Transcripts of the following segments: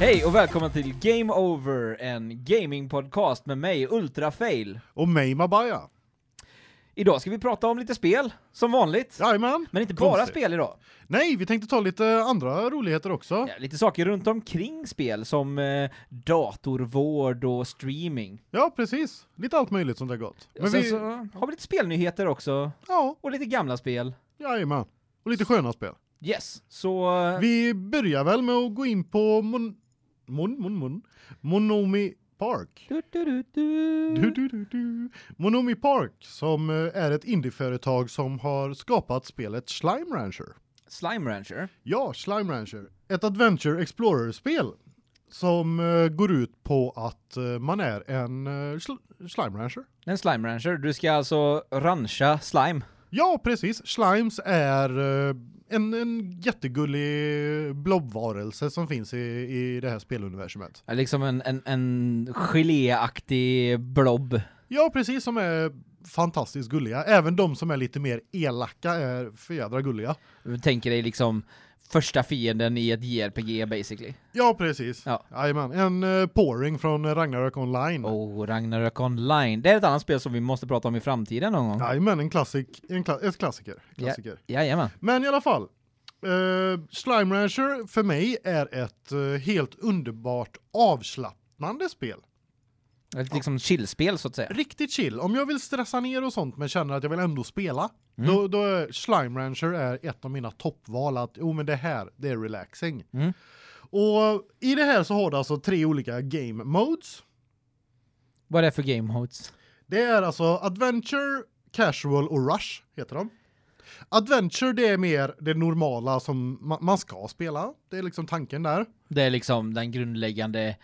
Hej och välkomna till Game Over, en gamingpodcast med mig, Ultrafail. Och mig Mabaya. Idag ska vi prata om lite spel, som vanligt. Jajamän. Men inte bara Konstigt. spel idag. Nej, vi tänkte ta lite andra roligheter också. Ja, lite saker runt omkring spel, som eh, datorvård och streaming. Ja, precis. Lite allt möjligt som det har gått. Men och sen vi... så eh, har vi lite spelnyheter också, Ja, och lite gamla spel. jajamän. Och lite sköna spel. Yes, så... eh, Vi börjar väl med att gå in på mon... Mon, mon, mon. Monomi Park. Du, du, du, du. Du, du, du, du. Monomi Park som eh, är ett indieföretag som har skapat spelet Slime Rancher. Slime Rancher. Ja, Slime Rancher. Ett Adventure Explorer-spel som eh, går ut på att eh, man är en eh, sl- Slime Rancher. En Slime Rancher, du ska alltså rancha slime. Ja, precis. Slimes är eh, en, en jättegullig blobvarelse som finns i, i det här speluniversumet. Ja, Liksom en, en, en geléaktig blob. Ja, precis, som är fantastiskt gulliga. Även de som är lite mer elaka är för jädra gulliga. Tänker dig liksom första fienden i ett JRPG basically. Ja, precis. Ja. Jajamän. En eh, pouring från Ragnarök Online. Oh, Ragnarök Online. Det är ett annat spel som vi måste prata om i framtiden någon gång. Jajamän, en klassik, en kla ett klassiker. klassiker. Jajamän. Men i alla fall. eh, Slime Rancher för mig är ett eh, helt underbart avslappnande spel. Ett liksom chillspel så att säga. Riktigt chill. Om jag vill stressa ner och sånt men känner att jag vill ändå spela. Då, då är Slime Rancher är ett av mina toppval att oh, men det här, det är relaxing. Mm. Och i det här så har du alltså tre olika game modes. Vad är det för game modes? Det är alltså Adventure, Casual och Rush heter de. Adventure det är mer det normala som ma- man ska spela. Det är liksom tanken där. Det är liksom den grundläggande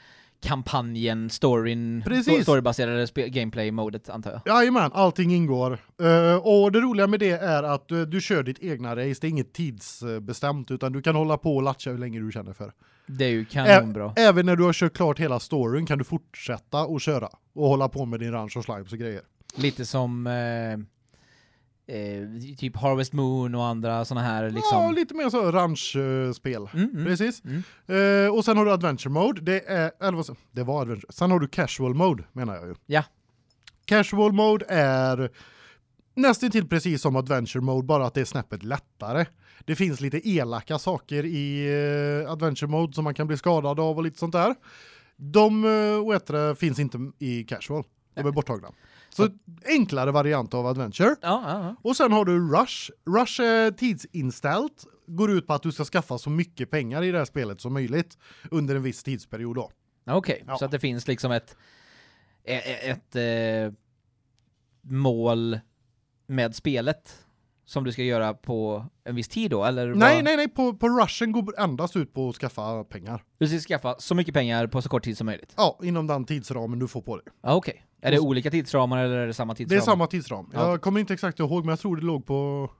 kampanjen, storyn, Precis. sto- storybaserade spe- gameplay-modet antar jag. Jajamän, allting ingår. Eh, och det roliga med det är att eh, du, du kör ditt egna race. Det är inget tidsbestämt utan du kan hålla på och latcha hur länge du känner för. Det är Eh, ju Ä- kanonbra. även när du har kört klart hela storyn kan du fortsätta och köra och hålla på med din ranch och slimes och grejer. Lite som eh, eh, typ Harvest Moon och andra såna här Ja, liksom. lite mer så ranchspel. Mm, mm. Precis. Mm. Eh, och sen har du adventure mode. Det är eller vad sa- det var adventure. Sen har du casual mode menar jag ju. Ja. Casual mode är nästintill precis som adventure mode bara att det är snäppet lättare. Det finns lite elaka saker i eh, adventure mode som man kan bli skadad av och lite sånt där. De eh, och ätre finns inte i casual. De är borttagna. Så enklare variant av adventure. Ja, ja, ja. Och sen har du Rush. Rush är tidsinställt. Går ut på att du ska skaffa så mycket pengar i det här spelet som möjligt under en viss tidsperiod då. Ja, Okej, Ja. så att det finns liksom ett, e- e- ett, eh, mål med spelet som du ska göra på en viss tid då? Eller Nej, vad? nej, nej. På, på Rushen går endast ut på att skaffa pengar. Du ska skaffa så mycket pengar på så kort tid som möjligt? Ja, inom den tidsramen du får på dig. Ja, Okej. Är det olika tidsramar eller är det samma Det är tidsram? samma tidsram. Ja. Jag kommer inte exakt ihåg, men jag tror det låg på...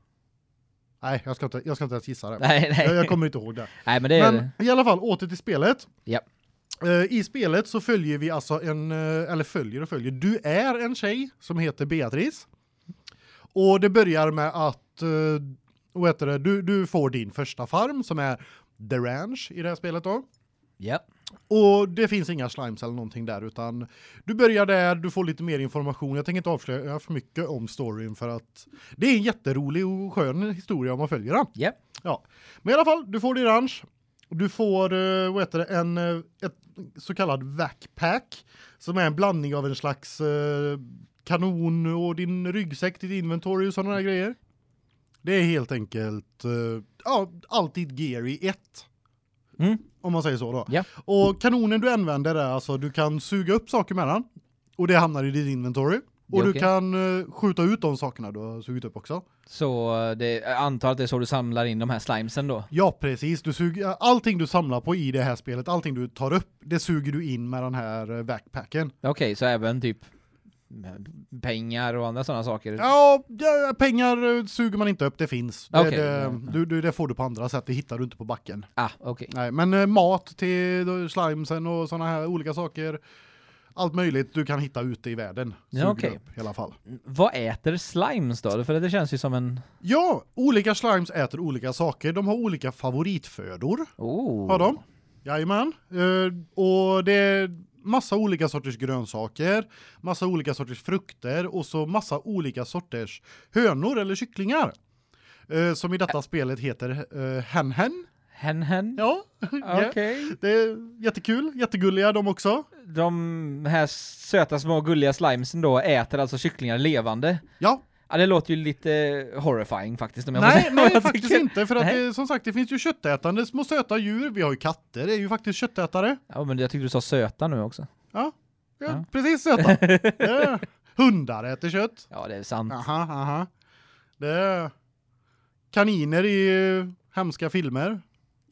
Nej, jag ska inte, jag ska inte ens gissa det. Nej, nej. Jag, jag kommer inte ihåg det. nej men det är Men i alla fall, åter till spelet. Ja. Eh, I spelet så följer vi alltså en, eh, eller följer och följer, du är en tjej som heter Beatrice. Och det börjar med att, eh, vad heter det, du, du får din första farm som är The Ranch i det här spelet då. Ja. Och det finns inga slimes eller någonting där utan du börjar där, du får lite mer information. Jag tänker inte avslöja för mycket om storyn för att det är en jätterolig och skön historia om man följer den. Ja. Ja, men i alla fall, du får din ranch. Du får, eh, vad heter det, en, eh, ett så kallad backpack som är en blandning av en slags eh, kanon och din ryggsäck, ditt inventory och sådana där grejer. Det är helt enkelt, eh, ja, alltid gear i ett. Mm. Om man säger så då. Ja. Och kanonen du använder är alltså, du kan suga upp saker med den och det hamnar i ditt inventory. Det är Och du okej. kan eh, skjuta ut de sakerna du har sugit upp också. Så det, jag antar att det är så du samlar in de här slimesen då? Ja, precis. Du suger, allting du samlar på i det här spelet, allting du tar upp, det suger du in med den här eh, backpacken. Okej, så även typ mm, pengar och andra sådana saker? Ja, ja, pengar eh, suger man inte upp, det finns. Det, Okej, det, ja, ja. Du, du, det får du på andra sätt, det hittar du inte på backen. Ah, okej. Nej, men eh, mat till eh, slimesen och sådana här olika saker, allt möjligt du kan hitta ute i världen. Ja, suger du okej. upp, i alla fall. Vad äter slimes då? För det känns ju som en... Ja, olika slimes äter olika saker. De har olika favoritfödor. Oh. Har de? Jajamän. Eh, och det är massa olika sorters grönsaker, massa olika sorters frukter och så massa olika sorters hönor eller kycklingar. Eh, som i detta spelet heter eh, hen hen. Hen hen? Ja, Okej. det är jättekul, jättegulliga de också. De här söta små gulliga slimesen då äter alltså kycklingar levande. Ja, Ja, det låter ju lite horrifying faktiskt om jag får nej, säga vad nej jag faktiskt tycker. inte för att Nej. det, som sagt det finns ju köttätande små söta djur, vi har ju katter, det är ju faktiskt köttätare. Ja, men jag tyckte du sa söta nu också. Ja, Ja. precis söta. Ja. Hundar äter kött. Ja, det är sant. Aha, aha. Det är kaniner i eh, hemska filmer.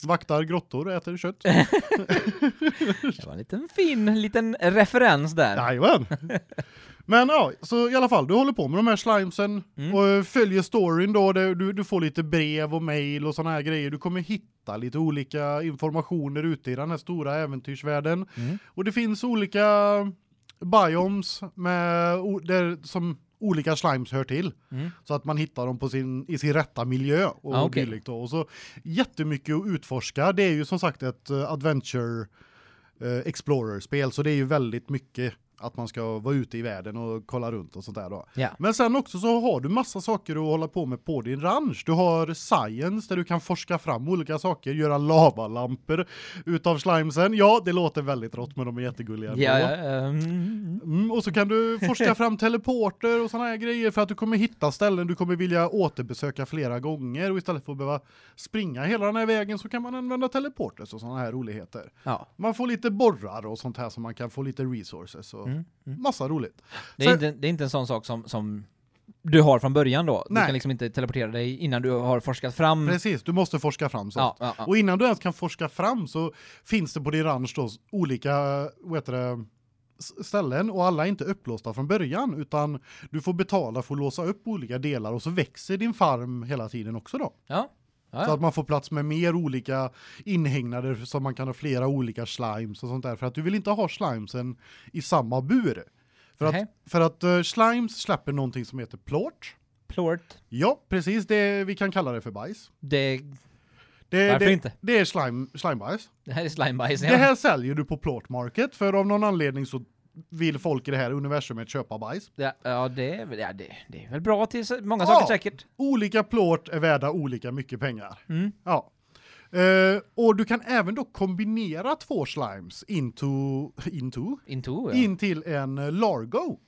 Vaktar grottor, äter kött. Det var en liten fin liten referens där. Jajamän. Men ja, så i alla fall, du håller på med de här slimesen Mm. och eh, följer storyn då. Det- Du, du får lite brev och mejl och sådana här grejer. Du kommer hitta lite olika informationer ute i den här stora äventyrsvärlden. Mm. Och det finns olika biomes med, o- där, som olika slimes hör till. Mm. Så att man hittar dem på sin, i sin rätta miljö och Ah, okej. dylikt. Då. Och så jättemycket att utforska. Det är ju som sagt ett eh, adventure eh, explorer-spel. Så det är ju väldigt mycket att man ska vara ute i världen och kolla runt och sånt där då. Ja. Men sen också så har du massa saker att hålla på med på din ranch. Du har science där du kan forska fram olika saker, göra lavalampor utav slimesen. Ja, det låter väldigt rått men de är jättegulliga. Ja, ändå. ja, ehm, Mm, och så kan du forska fram teleporter och såna här grejer för att du kommer hitta ställen du kommer vilja återbesöka flera gånger och istället för att behöva springa hela den här vägen så kan man använda teleporters och såna här roligheter. ja. Man får lite borrar och sånt här som så man kan få lite resources och Mm, mm. massa roligt. Det, är Så- inte, det är inte en sån sak som, som du har från början då. Du Nej. kan liksom inte teleportera dig innan du har forskat fram. Precis, du måste forska fram sånt. Mm. Ja, ja, ja. Och innan du ens kan forska fram så finns det på din ranch då olika vad heter det, s- ställen och alla är inte upplåsta från början utan du får betala för att låsa upp olika delar och så växer din farm hela tiden också då. Ja. Ja, Så ja. att man får plats med mer olika inhägnader som man kan ha flera olika slimes och sånt där. För att du vill inte ha slimesen i samma bur. För Nej. att, för att eh, slimes släpper någonting som heter plort. Plort. Ja, precis det vi kan kalla det för bajs. Det, Det, Varför det, inte? Det är slime, slimebajs. det här är slimebajs. Det här säljer du på plort market för av någon anledning så vill folk i det här universumet köpa bajs. Ja, ja, det, är väl- ja det, det är väl bra till så- många Ja. saker säkert. Olika plåt är värda olika mycket pengar. Mm. Ja. Eh, och du kan även då kombinera två slimes into, into, Into, ja. in till en eh, Largo.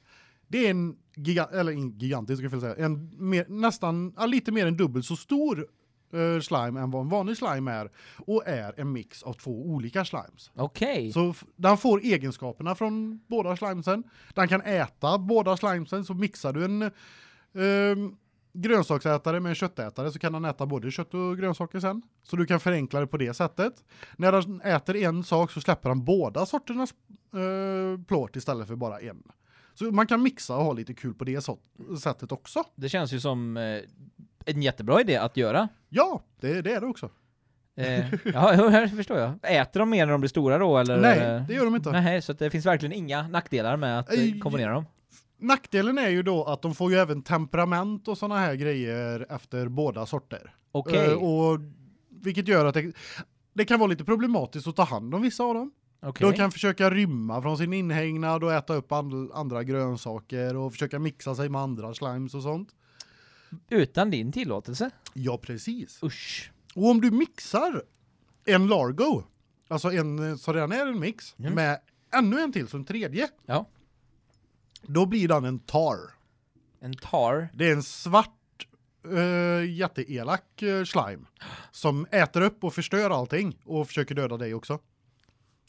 Det är en giga, eller en gigantisk, ska jag säga, en mer, nästan, ja, lite mer än dubbelt så stor eh, slime än vad en vanlig slime är. Och är en mix av två olika slimes. Okej. Så f- den får egenskaperna från båda slimesen. Den kan äta båda slimesen, så mixar du en ehm, grönsaksätare med en köttätare så kan den äta både kött och grönsaker sen. Så du kan förenkla det på det sättet. När den äter en sak så släpper den båda sorternas uh, plåt istället för bara en. Så man kan mixa och ha lite kul på det sort- sättet också. Det känns ju som eh, en jättebra idé att göra. Ja, det, det är det också. Eh, ja, jo, här förstår jag. Äter de mer när de blir stora då eller? Nej, det gör de inte. Eh, Nej, så att det finns verkligen inga nackdelar med att eh, Ej. kombinera dem. Nackdelen är ju då att de får ju även temperament och såna här grejer efter båda sorter. Okej, Eh, Och vilket gör att det, det kan vara lite problematiskt att ta hand om vissa av dem. okej. De kan försöka rymma från sin inhägnad och äta upp and, andra grönsaker och försöka mixa sig med andra slimes och sånt. Utan din tillåtelse? Ja, precis. Usch. Och om du mixar en Largo, alltså en eh, som redan är en mix, Mm. med ännu en till som tredje, Ja. då blir den en tar. En tar. Det är en svart, eh, jätteelak eh, slime som äter upp och förstör allting och försöker döda dig också.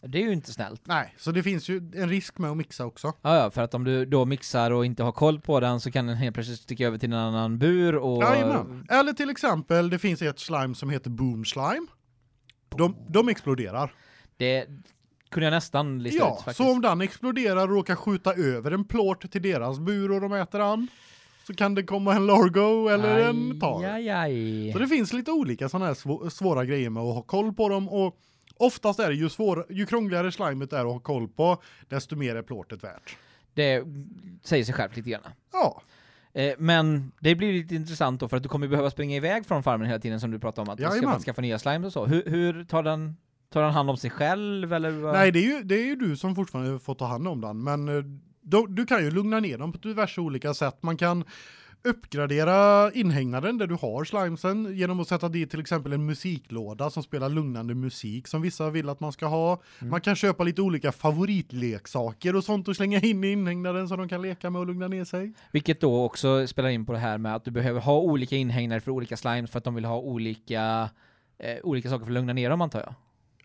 Det är ju inte snällt. Nej, så det finns ju en risk med att mixa också. Ja, ja, för att om du då mixar och inte har koll på den så kan den helt plötsligt sticka över till en annan bur och... Jajamän. Eller till exempel, det finns ett slime som heter Boom Slime. De, de exploderar. Det kunde jag nästan lista ut Ja, faktiskt. så om den exploderar och råkar skjuta över en plåt till deras bur och de äter an, så kan det komma en Largo eller en Tar. Aj, aj. Så det finns lite olika sådana här svå- svåra grejer med att ha koll på dem och oftast är det ju svår, ju krångligare slimet är att ha koll på, desto mer är plåtet värt. Det säger sig självt lite grann. Ja, Eh, men det blir lite intressant då för att du kommer behöva springa iväg från farmen hela tiden som du pratade om att du ska Jajamän. skaffa nya slime och så. Hur, hur tar den Tar han hand om sig själv eller? vad? Nej, det är, ju, det är ju du som fortfarande får ta hand om den, men eh, då, du kan ju lugna ner dem på diverse olika sätt. Man kan uppgradera inhägnaden där du har slimesen genom att sätta dit till exempel en musiklåda som spelar lugnande musik som vissa vill att man ska ha. Mm. Man kan köpa lite olika favoritleksaker och sånt och slänga in i inhägnaden så de kan leka med och lugna ner sig. Vilket då också spelar in på det här med att du behöver ha olika inhägnader för olika slimes för att de vill ha olika, eh, olika saker för att lugna ner dem antar jag.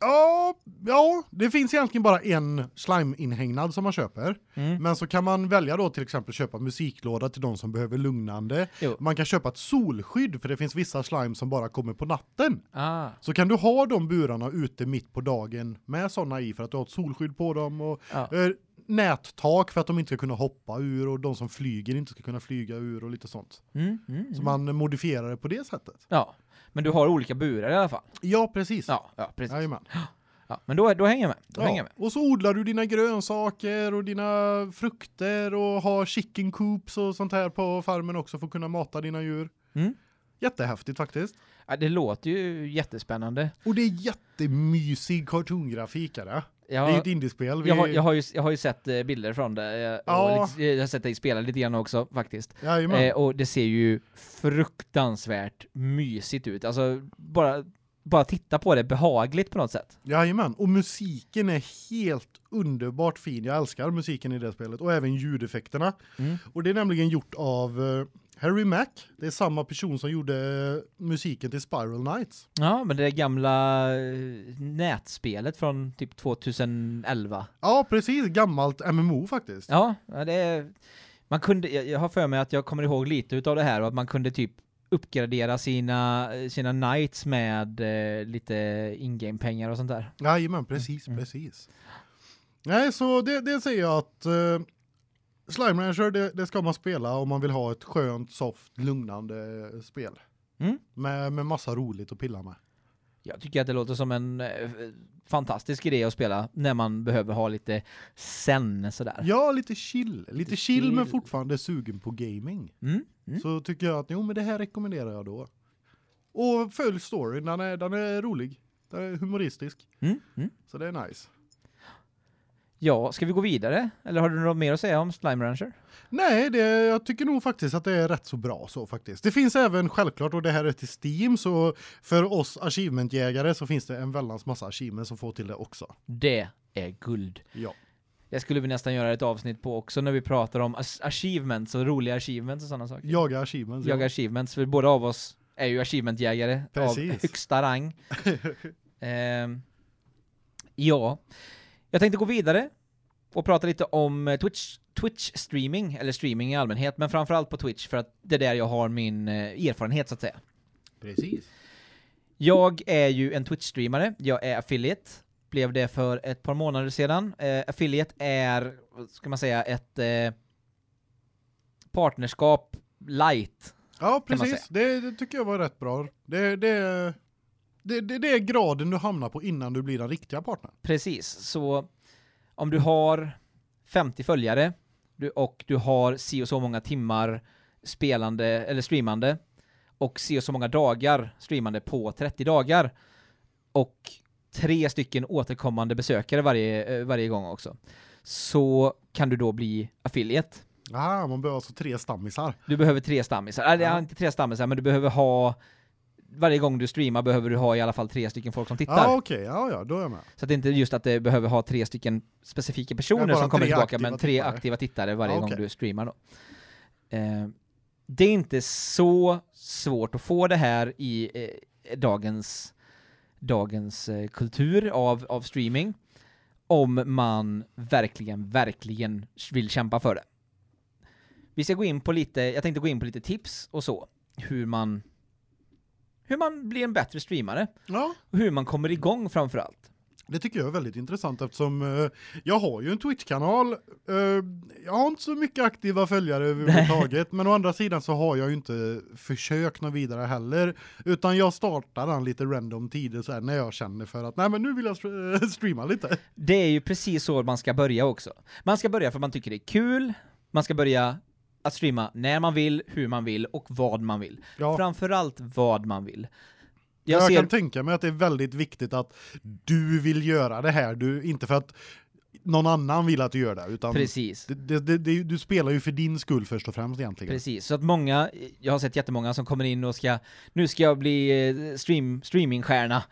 Ja, ja, det finns egentligen bara en slime-inhägnad som man köper. Mm. Men så kan man välja då till exempel köpa musiklåda till de som behöver lugnande. Jo. Man kan köpa ett solskydd för det finns vissa slime som bara kommer på natten. Ah, Så kan du ha de burarna ute mitt på dagen med sådana i för att du har ett solskydd på dem och ja. eh, nättak för att de inte ska kunna hoppa ur och de som flyger inte ska kunna flyga ur och lite sånt. Mm, mm, Så mm. man modifierar det på det sättet. ja. Men du har olika burar i alla fall? Ja, precis. Ja, ja precis. Jajamän. Ja, men då, då hänger jag med. Då hänger Ja. jag med. Och så odlar du dina grönsaker och dina frukter och har chicken coops och sånt här på farmen också för att kunna mata dina djur. Mm. Jättehäftigt faktiskt. Ja, det låter ju jättespännande. Och det är jättemysig cartoongrafik är det. Jag, Det är ju ett indiespel. Vi... jag, har, jag, har ju, jag har ju sett eh, bilder från det. eh, Ja. Och lite, jag har sett dig spela lite grann också faktiskt. Jajamän. Eh, och det ser ju fruktansvärt mysigt ut. Alltså, bara, bara titta på det behagligt på något sätt. Jajamän. Och musiken är helt underbart fin. Jag älskar musiken i det spelet och även ljudeffekterna. Mm. Och det är nämligen gjort av eh, Harry Mack. Det är samma person som gjorde eh, musiken till Spiral Nights. Ja, men det gamla eh, nätspelet från typ 2011. Ja, precis. Gammalt MMO faktiskt. Ja, ja, det är, man kunde, jag, jag har för mig att jag kommer ihåg lite utav det här och att man kunde typ uppgradera sina, sina knights med eh, lite in-game-pengar och sånt där. Jajamän, precis, Mm, mm. precis. Nej, så det, det säger jag att eh, Slime Rancher, det, det ska man spela om man vill ha ett skönt, soft, lugnande spel. Mm. Med, med massa roligt att pilla med. Jag tycker att det låter som en eh, fantastisk idé att spela när man behöver ha lite sen sådär. Ja, lite chill. Lite chill, men Äh. chill. fortfarande sugen på gaming. Mm, mm. Så tycker jag att, jo men det här rekommenderar jag då. Och följ storyn, den är, den är rolig. Den är humoristisk. Mm, mm. Så det är nice. Ja, ska vi gå vidare? Eller har du något mer att säga om Slime Rancher? Nej, det, jag tycker nog faktiskt att det är rätt så bra så faktiskt. Det finns även självklart, och det här är till Steam, så för oss achievementjägare så finns det en väldans massa achievements att få till det också. Det är guld. Ja. Det skulle vi nästan göra ett avsnitt på också när vi pratar om as- achievements och roliga achievements och sådana saker. Jaga achievements. jaga ja. achievements, för båda av oss är ju achievementjägare av Precis. högsta rang. Ehm, ja, jag tänkte gå vidare och prata lite om eh, Twitch, Twitch-streaming, eller streaming i allmänhet, men framförallt på Twitch för att det är där jag har min eh, erfarenhet så att säga. Precis. Jag är ju en Twitch-streamare, jag är affiliate, blev det för ett par månader sedan. Eh, affiliate är, vad ska man säga, ett eh, partnerskap light Ja, man precis. Det, det tycker jag var rätt bra. Det, det, det, det, det är graden du hamnar på innan du blir den riktiga partnern. Precis, så om du har 50 följare du, och du har si och så många timmar spelande eller streamande och si och så många dagar streamande på 30 dagar och tre stycken återkommande besökare varje, eh, varje gång också så kan du då bli affiliate. Ah, man behöver alltså tre stammisar. Du behöver tre stammisar, eller Ja. ja. inte tre stammisar men du behöver ha varje gång du streamar behöver du ha i alla fall tre stycken folk som tittar. Ja, okej. Ja, ja, då är jag med. Så att det inte är just att det behöver ha tre stycken specifika Nej, personer bara som kommer tre tillbaka, aktiva men tre tittare. aktiva tittare varje Ja, gång okej. du streamar då. Eh, det är inte så svårt att få det här i eh, dagens, dagens eh, kultur av, av streaming om man verkligen, verkligen vill kämpa för det. Vi ska gå in på lite, jag tänkte gå in på lite tips och så, hur man, hur man blir en bättre streamare Ja, och hur man kommer igång framförallt. Det tycker jag är väldigt intressant eftersom eh, jag har ju en Twitch-kanal. Eh, jag har inte så mycket aktiva följare överhuvudtaget, men å andra sidan så har jag ju inte försökt något vidare heller, utan jag startar den lite random tider så här när jag känner för att nej men nu vill jag str- streama lite. Det är ju precis så man ska börja också. Man ska börja för man tycker det är kul, man ska börja att streama när man vill, hur man vill och vad man vill. Ja, Framförallt vad man vill. Jag Jag, ser- kan tänka mig att det är väldigt viktigt att du vill göra det här. Du, inte för att någon annan vill att du gör det, utan Precis. det, det, det, det, du spelar ju för din skull först och främst egentligen. Precis, så att många, jag har sett jättemånga som kommer in och ska, nu ska jag bli eh, stream, streamingstjärna,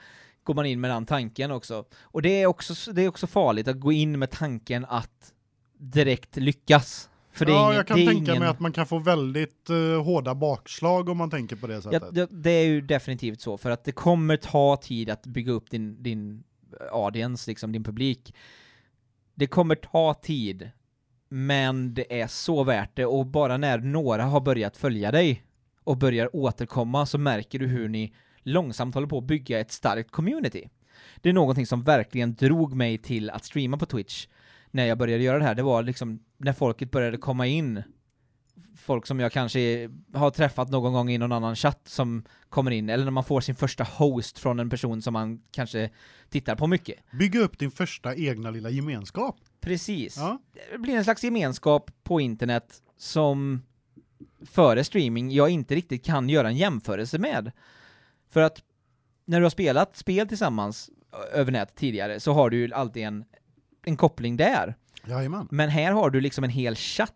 går man in med den tanken också. Och det är också, det är också farligt att gå in med tanken att direkt lyckas. För det är ja, ingen, jag kan det är tänka ingen, mig att man kan få väldigt eh, hårda bakslag om man tänker på det sättet. Ja, det, det är ju definitivt så, för att det kommer ta tid att bygga upp din, din audience, liksom din publik. Det kommer ta tid, men det är så värt det, och bara när några har börjat följa dig och börjar återkomma så märker du hur ni långsamt håller på att bygga ett starkt community. Det är någonting som verkligen drog mig till att streama på Twitch när jag började göra det här. Det var liksom när folket började komma in folk som jag kanske har träffat någon gång i någon annan chatt som kommer in, eller när man får sin första host från en person som man kanske tittar på mycket. Bygga upp din första egna lilla gemenskap. Precis. Ja. Det blir en slags gemenskap på internet som före streaming jag inte riktigt kan göra en jämförelse med. För att när du har spelat spel tillsammans ö- över nät tidigare så har du ju alltid en, en koppling där. Jajamän. Men här har du liksom en hel chatt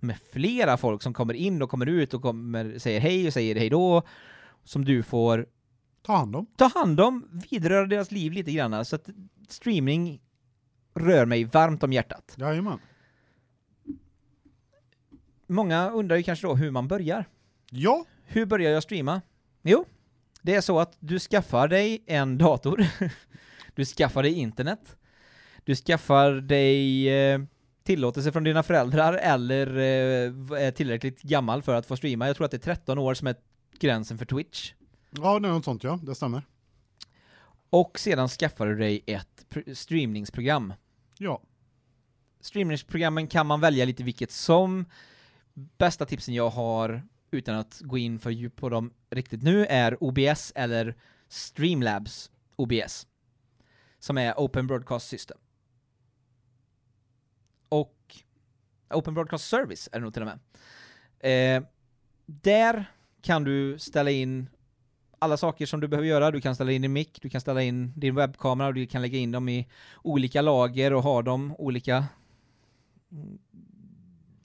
med flera folk som kommer in och kommer ut och kommer, säger hej och säger hej då, som du får Ta hand om. ta hand om, vidröra deras liv lite grann. Så att streaming rör mig varmt om hjärtat. Jajamän. Många undrar ju kanske då hur man börjar. Ja, Hur börjar jag streama? Jo, det är så att du skaffar dig en dator, du skaffar dig internet, du skaffar dig eh, tillåtelse från dina föräldrar eller eh, v- är tillräckligt gammal för att få streama. Jag tror att det är 13 år som är gränsen för Twitch. ja det är något sånt ja, det stämmer. Och sedan skaffar du dig ett pr- streamningsprogram. Ja. streamingprogrammen kan man välja lite vilket som. Bästa tipsen jag har, utan att gå in för djupt på dem riktigt nu, är OBS eller Streamlabs OBS. Som är Open Broadcast System. Och Open Broadcast Service är det nog till och med. Eh, där kan du ställa in alla saker som du behöver göra. Du kan ställa in din mick, du kan ställa in din webbkamera, och du kan lägga in dem i olika lager och ha dem olika mm,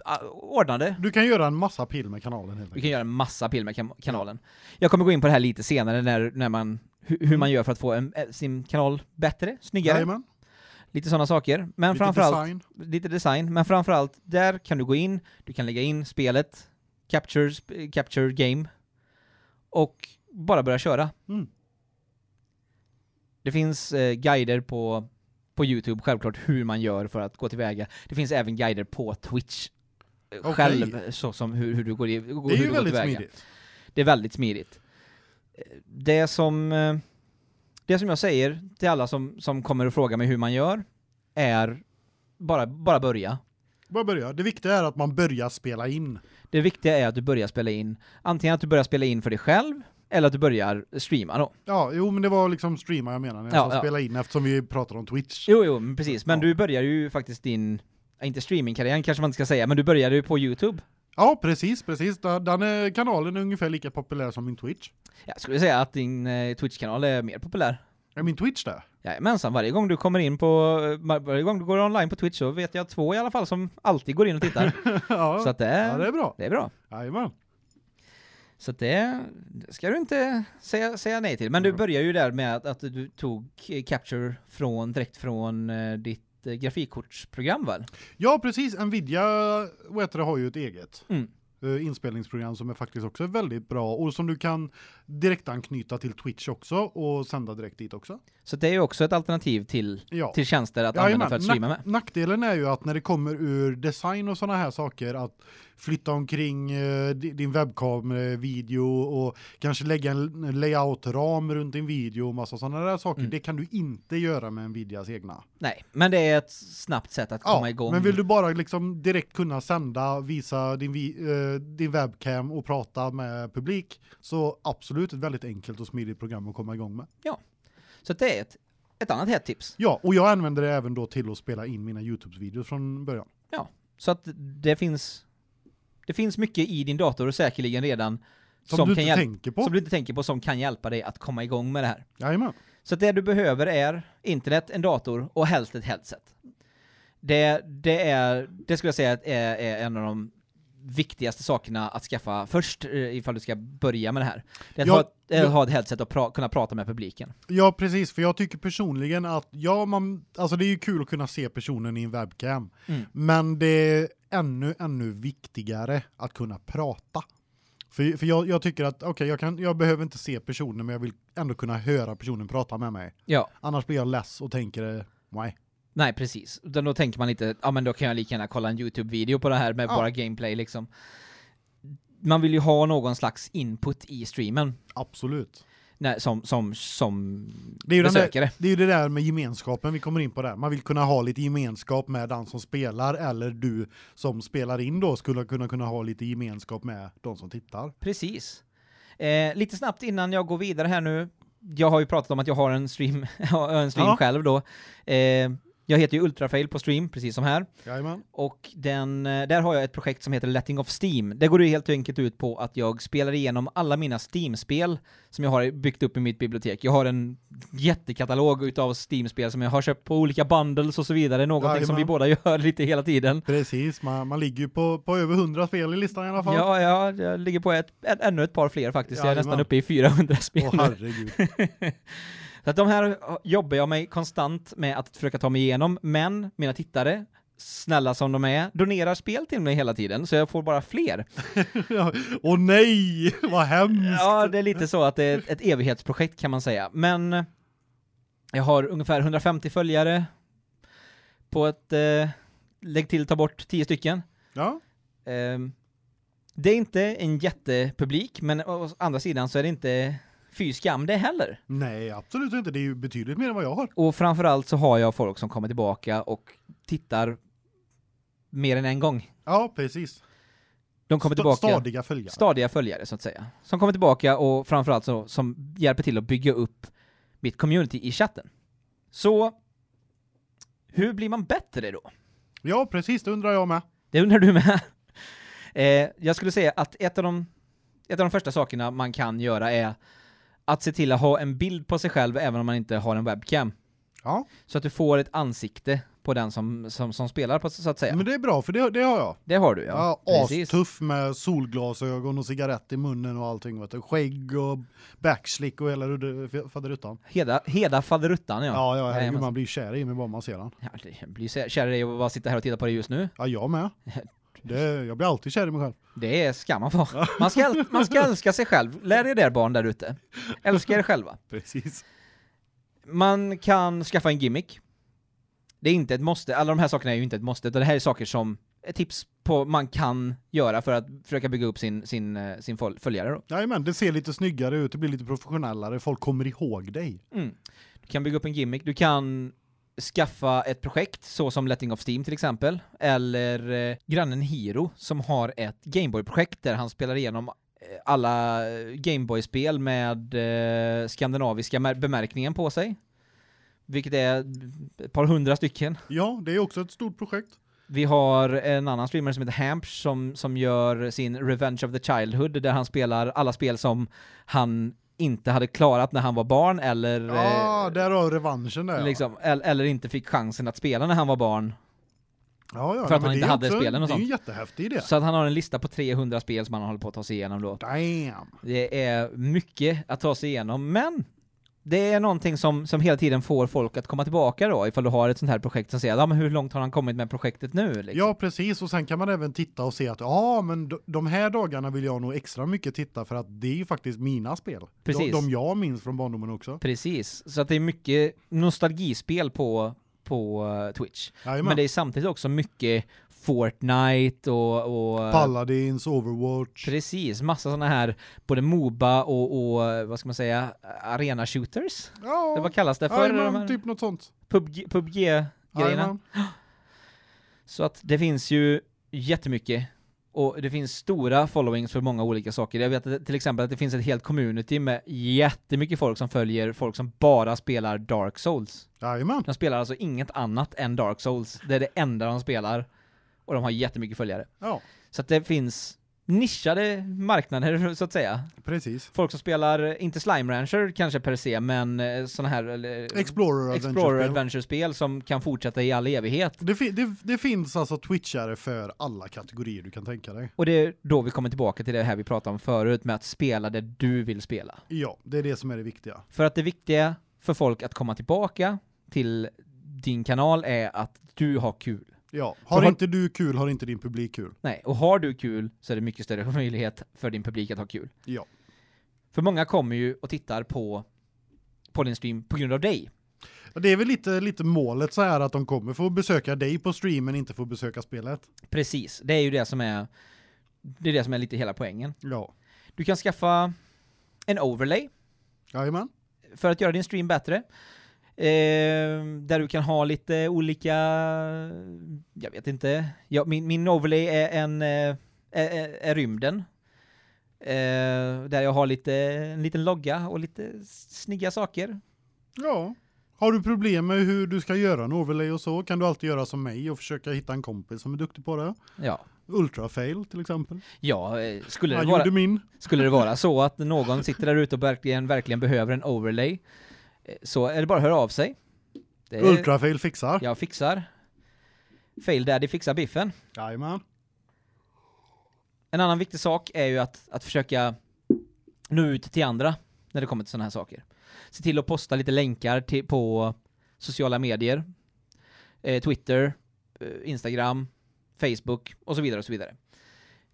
ah, ordnade. Du kan göra en massa pill med kanalen helt Vi enkelt. kan göra en massa pil med kam- kanalen. Jag kommer gå in på det här lite senare när, när man, hu, hur Mm. man gör för att få en, eh, sin kanal bättre, snyggare, Jajamän. lite sådana saker. Men Lite framförallt, design. lite design, men framförallt, där kan du gå in, du kan lägga in spelet, capture, sp- capture game, och bara börja köra. Mm. Det finns eh, guider på, på YouTube, självklart, hur man gör för att gå tillväga. Det finns även guider på Twitch, eh, Okej. själv, så som hur, hur du går, i, går, Det är hur ju du går väldigt tillväga. smidigt. Det är väldigt smidigt. Eh, Det som, eh, det som jag säger till alla som, som kommer och frågar mig hur man gör är bara, bara börja. Bara börja. Det viktiga är att man börjar spela in. Det viktiga är att du börjar spela in, antingen att du börjar spela in för dig själv, eller att du börjar streama då. Ja, jo men det var liksom streama jag menade. Ja, Jag sa ja. spela in eftersom vi pratar om Twitch. Jo, jo, men precis. Men Ja. du börjar ju faktiskt din, ja, inte streamingkarriären kanske man inte ska säga, men du började ju på YouTube. Ja, precis, precis. Da- Den eh, kanalen är ungefär lika populär som min Twitch. Jag skulle säga att din eh, Twitch-kanal är mer populär. Är min Twitch det? Jajamensan, varje gång du kommer in på, eh, var- varje gång du går online på Twitch så vet jag två i alla fall som alltid går in och tittar. ja. Så att det ja, är, det är bra. det är bra. Jajamän. Så att det det ska du inte säga, säga nej till. Men du Mm. börjar ju där med att, att du tog eh, Capture från, direkt från eh, ditt eh, grafikkortsprogram väl? Ja, precis. Nvidia vad heter det, har ju ett eget Mm. eh, inspelningsprogram som är faktiskt också väldigt bra och som du kan direkt anknyta till Twitch också och sända direkt dit också. Så det är ju också ett alternativ till, Ja. till tjänster att använda Jajamän. för att streama Nack- med. Nackdelen är ju att när det kommer ur design och sådana här saker att flytta omkring eh, di- din webbkameravideo och kanske lägga en layoutram runt din video och massa sådana där saker, Mm. det kan du inte göra med Nvidias egna. Nej, men det är ett snabbt sätt att komma igång. men vill du bara liksom direkt kunna sända, visa din, vi, eh, din webcam och prata med publik så absolut ett väldigt enkelt och smidigt program att komma igång med. Så att det är ett, ett annat hett tips. Ja, och jag använder det även då till att spela in mina Youtube-videos från början. Så att det finns, det finns mycket i din dator säkerligen redan Som, Som du kan inte hjäl- tänker på. som du inte tänker på som kan hjälpa dig att komma igång med det här. Jajamän. Så att det du behöver är internet, en dator och helst ett headset. Det, det, är, det skulle jag säga att är, är en av de viktigaste sakerna att skaffa först eh, ifall du ska börja med det här. Det är att Ja, ha, ett- eh, ja. ha ett headset och pra, kunna prata med publiken. Ja, precis. För jag tycker personligen att, ja, man, alltså det är ju kul att kunna se personen i en webcam. Mm. Men det är ännu, ännu viktigare att kunna prata. För, för jag, jag tycker att, okej, jag, kan- jag behöver inte se personen, men jag vill ändå kunna höra personen prata med mig. Ja, Annars blir jag less och tänker, eh, nej. nej precis. Utan då tänker man inte, ja men då kan jag lika gärna kolla en YouTube-video på det här med Ja. bara gameplay liksom. Man vill ju ha någon slags input i streamen Absolut. när, som, som, som Det är, ju den där, besökare. det är ju det där med gemenskapen vi kommer in på där. Man vill kunna ha lite gemenskap med den som spelar eller du som spelar in då skulle kunna kunna ha lite gemenskap med de som tittar. Precis. Eh, lite snabbt innan jag går vidare här nu. Jag har ju pratat om att jag har en stream, jag har en stream Ja. själv då. Eh, jag heter ju Ultrafail på stream, precis som här. Jajamän. Och den, eh, där har jag ett projekt som heter Letting of Steam. Det går ju helt enkelt ut på att jag spelar igenom alla mina Steam-spel som jag har byggt upp i mitt bibliotek. Jag har en jättekatalog utav Steam-spel som jag har köpt på olika bundles och så vidare. Någonting som vi Jajamän. båda gör lite hela tiden. Precis, man, man ligger ju på, på över 100 spel i listan i alla fall. Ja, ja, jag ligger på ett, ett, ännu ett par fler faktiskt. Jag är Jajamän. nästan uppe i 400 spel Åh nu. herregud. Så att de här jobbar jag mig konstant med att försöka ta mig igenom, men mina tittare, snälla som de är, donerar spel till mig hela tiden, så jag får bara fler. Ja, Åh nej, vad hemskt. Ja, det är lite så att det är ett, ett evighetsprojekt kan man säga. Men eh, jag har ungefär 150 följare på ett, eh, lägg till ta bort 10 stycken. Ja, Ehm, det är inte en jättepublik, men å andra sidan så är det inte fy skam det heller. nej absolut inte. Det är ju betydligt mer än vad jag har. Och framförallt så har jag folk som kommer tillbaka och tittar mer än en gång. Ja, precis. De kommer Sta- tillbaka, Stadiga följare. stadiga följare så att säga. Som kommer tillbaka och framförallt så, som hjälper till att bygga upp mitt community i chatten. Så, hur blir man bättre då? ja, precis, det undrar jag med. Det undrar du med? eh, jag skulle säga att ett av, de, ett av de första sakerna man kan göra är att se till att ha en bild på sig själv även om man inte har en webcam. Ja, Så att du får ett ansikte på den som, som, som spelar, på, så att säga. men det är bra för det, det har jag. Det har du ja. Ja, Precis. astuff med solglasögon och cigarett i munnen och allting vet du. Skägg och backslick och hela rudde- faderuttan. Heda, heda faderuttan ja. Ja, ja, Nej, herregud, men- man blir kär i mig bara man ser den. Ja, det blir så kär i dig att bara sitta här och titta på dig just nu. Ja, jag med. Det, jag blir alltid kär i mig själv. Det är- ska man vara. Man ska, äl- man ska älska sig själv. Lär er det barn där ute. Älska er själva. Precis. Man kan skaffa en gimmick. Det är inte ett måste. Alla de här sakerna är ju inte ett måste, utan det här är saker som är tips på man kan göra för att försöka bygga upp sin, sin, eh, sin fol- följare då. Jajamän, det ser lite snyggare ut, det blir lite professionellare, folk kommer ihåg dig. Mm. Du kan bygga upp en gimmick, du kan skaffa ett projekt, så som Letting of Steam till exempel, eller eh, grannen Hiro som har ett Gameboy-projekt där han spelar igenom eh, alla eh, Gameboy-spel med eh, skandinaviska mär- bemärkningen på sig. Vilket är ett par hundra stycken. Ja, det är också ett stort projekt. Vi har en annan streamer som heter Hamps som, som gör sin Revenge of the Childhood där han spelar alla spel som han inte hade klarat när han var barn eller eh, Ja, där har revanschen där. ja. liksom, eller, eller inte fick chansen att spela när han var barn. ja, ja, att nej, han men inte det är hade också- spelen och Det är ju en jättehäftig idé. Så att han har en lista på 300 spel som han håller på att ta sig igenom då. Damn. Det är mycket att ta sig igenom, men det är någonting som, som hela tiden får folk att komma tillbaka då, ifall du har ett sånt här projekt som säger ja, men hur långt har han kommit med projektet nu? Liksom. Ja, precis. Och sen kan man även titta och se att ja, men de- de här dagarna vill jag nog extra mycket titta för att det är ju faktiskt mina spel. Precis. De, de jag minns från barndomen också. Precis, så att det är mycket nostalgispel på, på eh, Twitch. Jajamän. Men det är samtidigt också mycket Fortnite och... och Paladins, Overwatch. Precis, massa sådana här både Moba och, och vad ska man säga, arena shooters? Ja, Det, vad kallas det för? jajamän, de här typ något sånt. PubG, PubG-grejerna. Jajamän. Så att det finns ju jättemycket. Och det finns stora followings för många olika saker. Jag vet att, till exempel att det finns ett helt community med jättemycket folk som följer folk som bara spelar Dark Souls. Jajamän. De spelar alltså inget annat än Dark Souls. Det är det enda de spelar. Och de har jättemycket följare. Ja. Så att det finns nischade marknader så att säga. Precis. Folk som spelar, eh, inte Slime Rancher kanske per se, men eh, såna här eller, Explorer, Explorer Adventure-spel. Adventure-spel som kan fortsätta i all evighet. Det, fi- det, det finns alltså twitchare för alla kategorier du kan tänka dig. Och det är då vi kommer tillbaka till det här vi pratade om förut med att spela det du vill spela. Ja, det är det som är det viktiga. För att det viktiga för folk att komma tillbaka till din kanal är att du har kul. Ja, Så har har- inte du kul har inte din publik kul. Nej, och har du kul så är det mycket större möjlighet för din publik att ha kul. Ja. För många kommer ju och tittar på, på din stream på grund av dig. Och Det är väl lite, lite målet så här att de kommer få besöka dig på streamen, inte få besöka spelet. Precis, det är ju det som är, det är det som är lite hela poängen. Ja. Du kan skaffa en overlay Jajamän. för att göra din stream bättre. Eh, där du kan ha lite olika, jag vet inte, ja, min, min overlay är en, eh, är, är, är rymden. Eh, där jag har lite, en liten logga och lite snygga saker. Ja. Har du problem med hur du ska göra en overlay och så kan du alltid göra som mig och försöka hitta en kompis som är duktig på det. Ja, Ultrafail till exempel. ja eh, skulle, det Han vara, gjorde min. skulle det vara så att någon sitter där ute och verkligen, verkligen behöver en overlay, eh, så är det bara att höra av sig. Det är- Ultrafail fixar. Jag fixar. Fail Daddy fixar biffen. Jajamän. En annan viktig sak är ju att, att försöka nå ut till andra när det kommer till sådana här saker. Se till att posta lite länkar till, på sociala medier. Eh, Twitter, eh, Instagram, Facebook och så vidare och så vidare.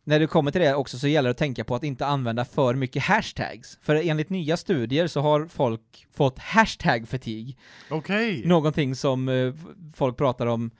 När det kommer till det också så gäller det att tänka på att inte använda för mycket hashtags. För enligt nya studier så har folk fått hashtag fatigue Okej. någonting som eh, folk pratar om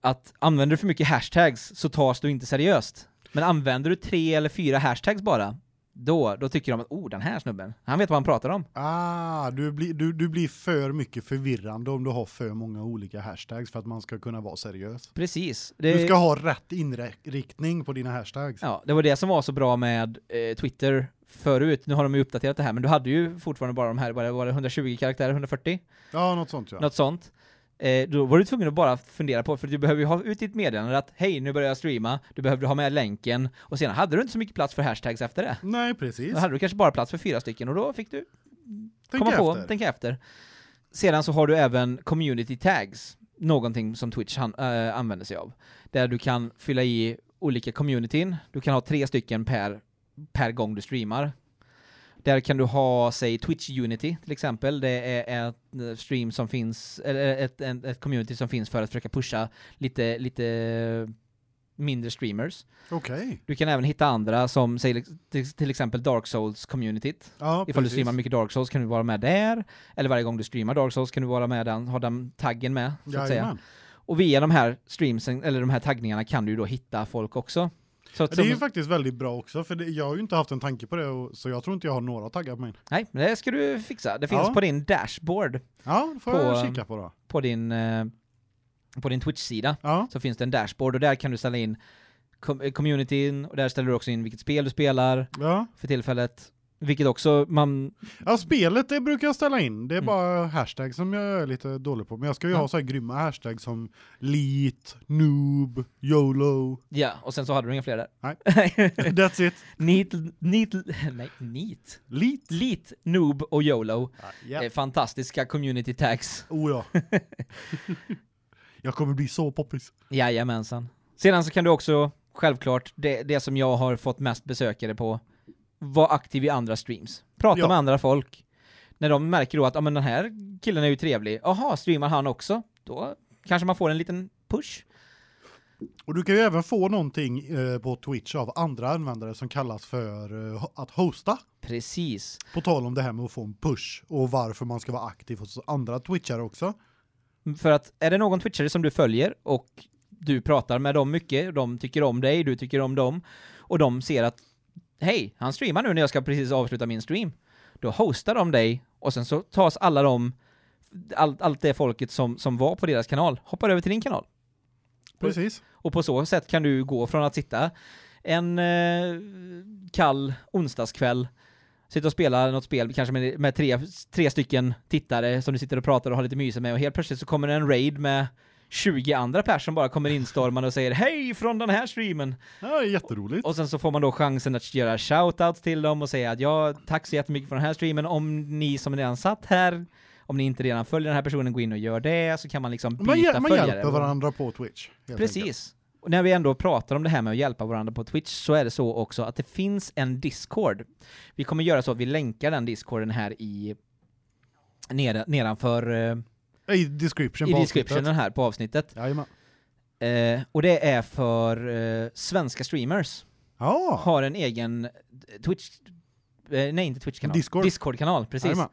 att använder du för mycket hashtags så tas du inte seriöst. Men använder du tre eller fyra hashtags bara, då, då tycker de att oh, den här snubben, han vet vad han pratar om. Ah, du blir, du, du blir för mycket förvirrande om du har för många olika hashtags för att man ska kunna vara seriös. Precis. Du Det, ska ha rätt inriktning på dina hashtags. ja, det var det som var så bra med eh, Twitter förut. Nu har de ju uppdaterat det här, men du hade ju fortfarande bara de här, var det, var det 120 karaktärer, 140? Ja, något sånt ja. Något sånt. Eh, då var du tvungen att bara fundera på, för du behöver ju ha ut ditt meddelande att hej, nu börjar jag streama, du behövde ha med länken, och sen hade du inte så mycket plats för hashtags efter det. Nej, precis. Då hade du kanske bara plats för fyra stycken och då fick du Tänk komma på, efter. tänka efter. Sedan så har du även community tags, någonting som Twitch han, äh, använder sig av. Där du kan fylla i olika communityn, du kan ha tre stycken per, per gång du streamar. Där kan du ha, säg Twitch Unity till exempel, det är ett eh, stream som finns, eller eh, ett, ett, ett community som finns för att försöka pusha lite, lite mindre streamers. Okej. Du kan även hitta andra som säg, till, till exempel Dark Souls-communityt. Ja, Ifall du precis. streamar mycket Dark Souls kan du vara med där, eller varje gång du streamar Dark Souls kan du vara med den, ha den taggen med, så att säga. Jajamän. Och via de här streamsen, eller de här taggningarna kan du ju då hitta folk också. Så att, Det är ju som, faktiskt väldigt bra också, för det, jag har ju inte haft en tanke på det, och, så jag tror inte jag har några taggar på mig. nej, men det ska du fixa. Det finns Ja. på din dashboard, Ja, då får På, jag ehm, kika på då. på din, eh, på din Twitch-sida, Ja, så finns det en dashboard och där kan du ställa in com- eh, communityn, och där ställer du också in vilket spel du spelar ja. för tillfället. Vilket också, man, ja, spelet det brukar jag ställa in. Det är Mm. bara hashtag som jag är lite dålig på. Men jag ska ju Ja. ha så här grymma hashtags som leet, noob, YOLO. ja, och sen så hade du inga fler där. Nej. Nej. That's it. Neat, neat, nej, neat. Leet. Lit, Noob och YOLO. Ja, ja. Eh, Fantastiska community tags. Oh ja. jag kommer bli så poppis. Jajamensan. Sedan så kan du också, självklart, det, det som jag har fått mest besökare på, vara aktiv i andra streams. Prata Ja. med andra folk. När de märker då att, ja men den här killen är ju trevlig, jaha, streamar han också? Då kanske man får en liten push. Och du kan ju även få någonting eh, på Twitch av andra användare som kallas för eh, ho- att hosta. Precis. På tal om det här med att få en push och varför man ska vara aktiv hos andra twitchare också. För att är det någon twitchare som du följer och du pratar med dem mycket, de tycker om dig, du tycker om dem, och de ser att hej, han streamar nu när jag ska precis avsluta min stream. Då hostar de dig och sen så tas alla de, allt, allt det folket som, som var på deras kanal, hoppar över till din kanal. Precis. Och på så sätt kan du gå från att sitta en eh, kall onsdagskväll, sitta och spela något spel, kanske med, med tre, tre stycken tittare som du sitter och pratar och har lite myse med, och helt plötsligt så kommer det en raid med 20 andra personer som bara kommer instormande och säger hej från den här streamen. Ja, jätteroligt. Och sen så får man då chansen att göra shoutouts till dem och säga att ja, tack så jättemycket för den här streamen. Om ni som redan satt här, om ni inte redan följer den här personen, gå in och gör det, så kan man liksom byta Man, hjä- man följare. hjälper varandra på Twitch. helt enkelt. Precis. Och när vi ändå pratar om det här med att hjälpa varandra på Twitch så är det så också att det finns en Discord. Vi kommer göra så att vi länkar den Discorden här i nere, nedanför eh, I description i på descriptionen här på avsnittet. avsnittet. Jajamän. Eh, och det är för eh, svenska streamers. Ja, Har en egen Twitch eh, nej inte Twitch kanal. Discord. kanal precis. jajamän.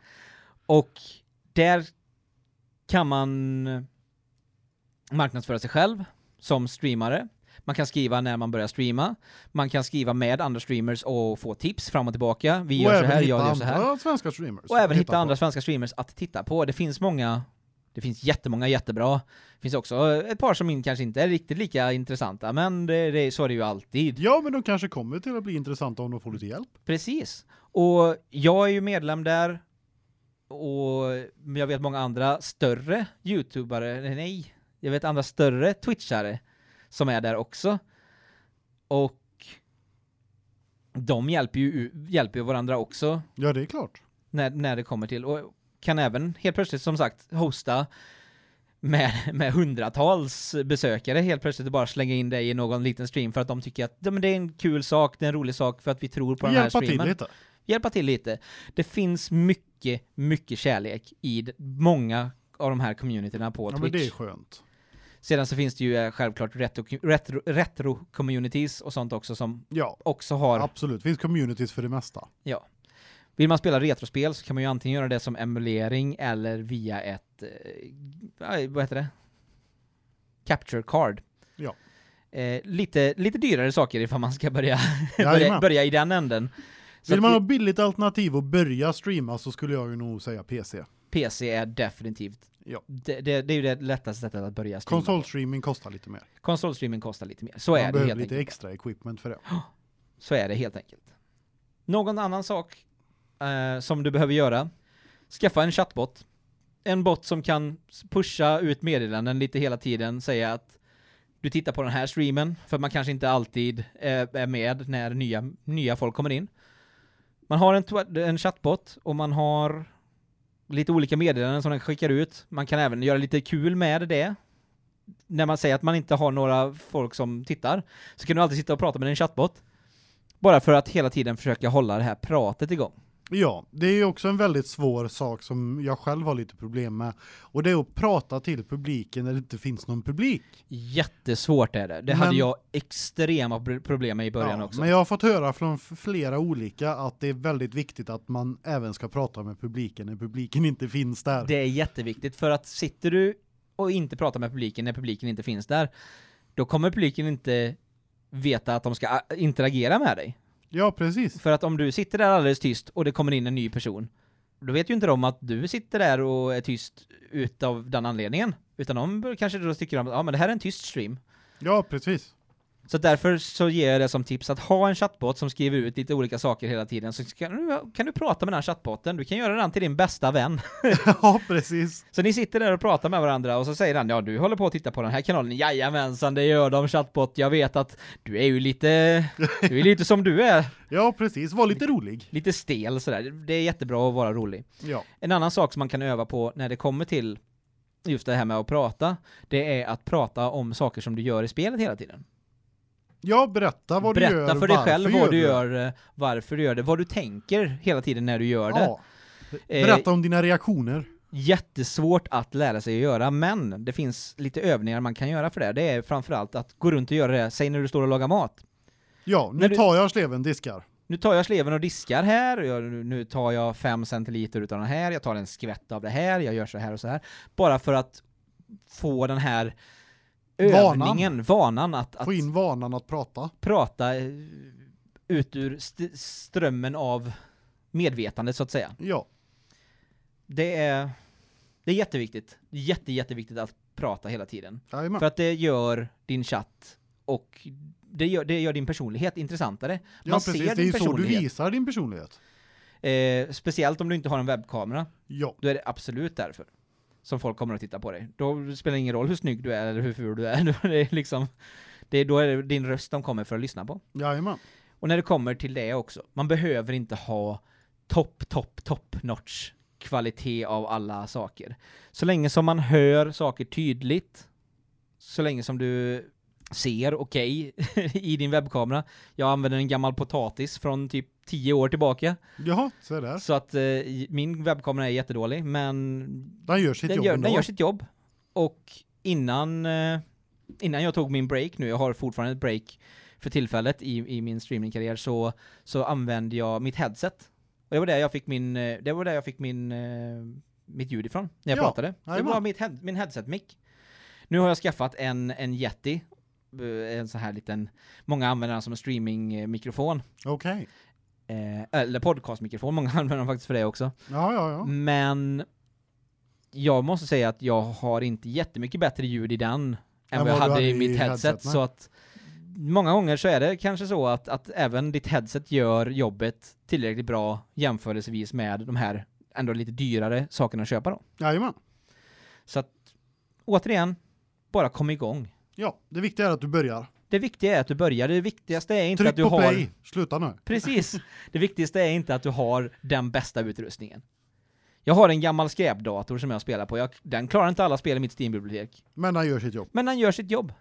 Och där kan man marknadsföra sig själv som streamare. Man kan skriva när man börjar streama. Man kan skriva med andra streamers och få tips fram och tillbaka. Vi och gör så även här, jag hitta gör så här. andra svenska streamers. Och även att hitta på. andra svenska streamers att titta på. Det finns många, det finns jättemånga jättebra. Det finns också eh, ett par som in- kanske inte är riktigt lika intressanta, men det, det, så är det ju alltid. Ja, men de kanske kommer till att bli intressanta om de får lite hjälp. Precis. Och jag är ju medlem där. Och jag vet många andra större youtubare, nej, nej, jag vet andra större twitchare som är där också. Och de hjälper ju, hjälper ju varandra också Ja, det är klart. när, när det kommer till. Och kan även helt plötsligt som sagt hosta med, med hundratals besökare helt plötsligt och bara slänga in dig i någon liten stream för att de tycker att ja, men det är en kul sak, det är en rolig sak för att vi tror på den här Hjälpa streamen till lite. hjälpa till lite. Det finns mycket, mycket kärlek i d- många av de här communityna på Ja, men det är Twitch. skönt. Sedan så finns det ju eh, självklart retro- retro- retro-communities och sånt också som Ja, också har... absolut. Det finns communities för det mesta. Ja. Vill man spela retrospel så kan man ju antingen göra det som emulering eller via ett... eh, aj, vad heter det? Capture card. Ja. Eh, lite, lite dyrare saker ifall man ska börja, börja, Jajamän. börja i den änden. Så Vill att man vi- ha billigt alternativ och börja streama så skulle jag ju nog säga PC. PC är definitivt, Ja. det, det, det är ju det lättaste sättet att börja streama. Konsolstreaming kostar lite mer. Konsolstreaming kostar lite mer, så Man är det helt behöver enkelt. lite extra equipment för det. Så är det helt enkelt. Någon annan sak eh, som du behöver göra? Skaffa en chattbot. En bot som kan s- pusha ut meddelanden lite hela tiden, säga att du tittar på den här streamen, för man kanske inte alltid eh, är med när nya, nya folk kommer in. Man har en, twa- en chattbot och man har lite olika meddelanden som den skickar ut. Man kan även göra lite kul med det. När man säger att man inte har några folk som tittar, så kan du alltid sitta och prata med din chattbot. Bara för att hela tiden försöka hålla det här pratet igång. Ja, det är ju också en väldigt svår sak som jag själv har lite problem med. Och det är att prata till publiken när det inte finns någon publik. Jättesvårt är det. Det hade Men- jag extrema pr- problem med i början också. Men jag har fått höra från f- flera olika att det är väldigt viktigt att man även ska prata med publiken när publiken inte finns där. Det är jätteviktigt för att sitter du och inte pratar med publiken när publiken inte finns där, då kommer publiken inte veta att de ska a- interagera med dig. Ja, precis. För att om du sitter där alldeles tyst och det kommer in en ny person, då vet ju inte de att du sitter där och är tyst utav den anledningen. Utan de kanske då tycker de att ja, men det här är en tyst stream. Ja, precis. Så därför så ger jag det som tips att ha en chattbot som skriver ut lite olika saker hela tiden. Så kan du, kan du prata med den här chattbotten, du kan göra den till din bästa vän. ja, precis. Så ni sitter där och pratar med varandra och så säger han ja du håller på att titta på den här kanalen, jajamensan det gör de chattbot, jag vet att du är ju lite, du är lite som du är, Ja, precis. Var lite rolig. lite stel sådär. Det är jättebra att vara rolig. Ja. En annan sak som man kan öva på när det kommer till just det här med att prata, det är att prata om saker som du gör i spelet hela tiden. Ja, berätta vad Berätta du gör. för dig varför själv vad du det. gör, eh, varför du gör det, vad du tänker hela tiden när du gör det. Ja. Eh, Berätta om dina reaktioner. Jättesvårt att lära sig att göra, men det finns lite övningar man kan göra för det. Det är framförallt att gå runt och göra det, säg när du står och lagar mat. Ja, När nu du- tar jag sleven diskar. Nu tar jag sleven och diskar här, och jag, nu tar jag fem centiliter utav den här, jag tar en skvätt av det här, jag gör så här och så här. Bara för att få den här Vanan. övningen, vanan att, att Få in vanan att prata. prata eh, ut ur st- strömmen av medvetandet så att säga. Ja, Det är, det är jätteviktigt. Jätte, jätteviktigt att prata hela tiden. jajamän. För att det gör din chatt och det gör, det gör din personlighet intressantare. Man Ja, ser precis. Det är din ju så du personlighet. visar din personlighet. eh, speciellt om du inte har en webbkamera. Ja, Då är det absolut därför. som folk kommer att titta på dig. Då spelar det ingen roll hur snygg du är eller hur ful du är. det är liksom, det är, då är det din röst de kommer för att lyssna på. Jajamän. Och när det kommer till det också, man behöver inte ha topp, topp, topp notch kvalitet av alla saker. Så länge som man hör saker tydligt, så länge som du ser okej i din webbkamera. Jag använder en gammal potatis från typ 10 år tillbaka, Jaha, se där. så att eh, i- min webbkamera är jättedålig, men Den gör sitt den jobb gör, ändå. den gör sitt jobb. Och innan, eh, innan jag tog min break nu, jag har fortfarande ett break för tillfället i, i min streamingkarriär, så, så använde jag mitt headset. Och det var där jag fick min, eh, det var där jag fick min, eh, mitt ljud ifrån, när jag Ja, pratade. Det jajamän. var mitt head, min headset-mick. Nu har jag skaffat en, en Yeti, eh, en sån här liten, många använder den som en streamingmikrofon, Okej. eh, eller podcastmikrofon, många använder den faktiskt för det också. Ja, ja, Mm. ja. Men jag måste säga att jag har inte jättemycket bättre ljud i den än vad Än jag vad du hade i hade i mitt headset. headset, så nej. att många gånger så är det kanske så att, att även ditt headset gör jobbet tillräckligt bra jämförelsevis med de här ändå lite dyrare sakerna att köpa då. Jajamän. Så att återigen, bara kom igång. Ja, det viktiga är att du börjar. Det viktiga är att du börjar. Det viktigaste är inte Tryck att du på har... play. Sluta nu. Precis. Det viktigaste är inte att du har den bästa utrustningen. Jag har en gammal skräpdator som jag spelar på. Jag, den klarar inte alla spel i mitt Steam-bibliotek. Men den gör sitt jobb. Men den gör sitt jobb.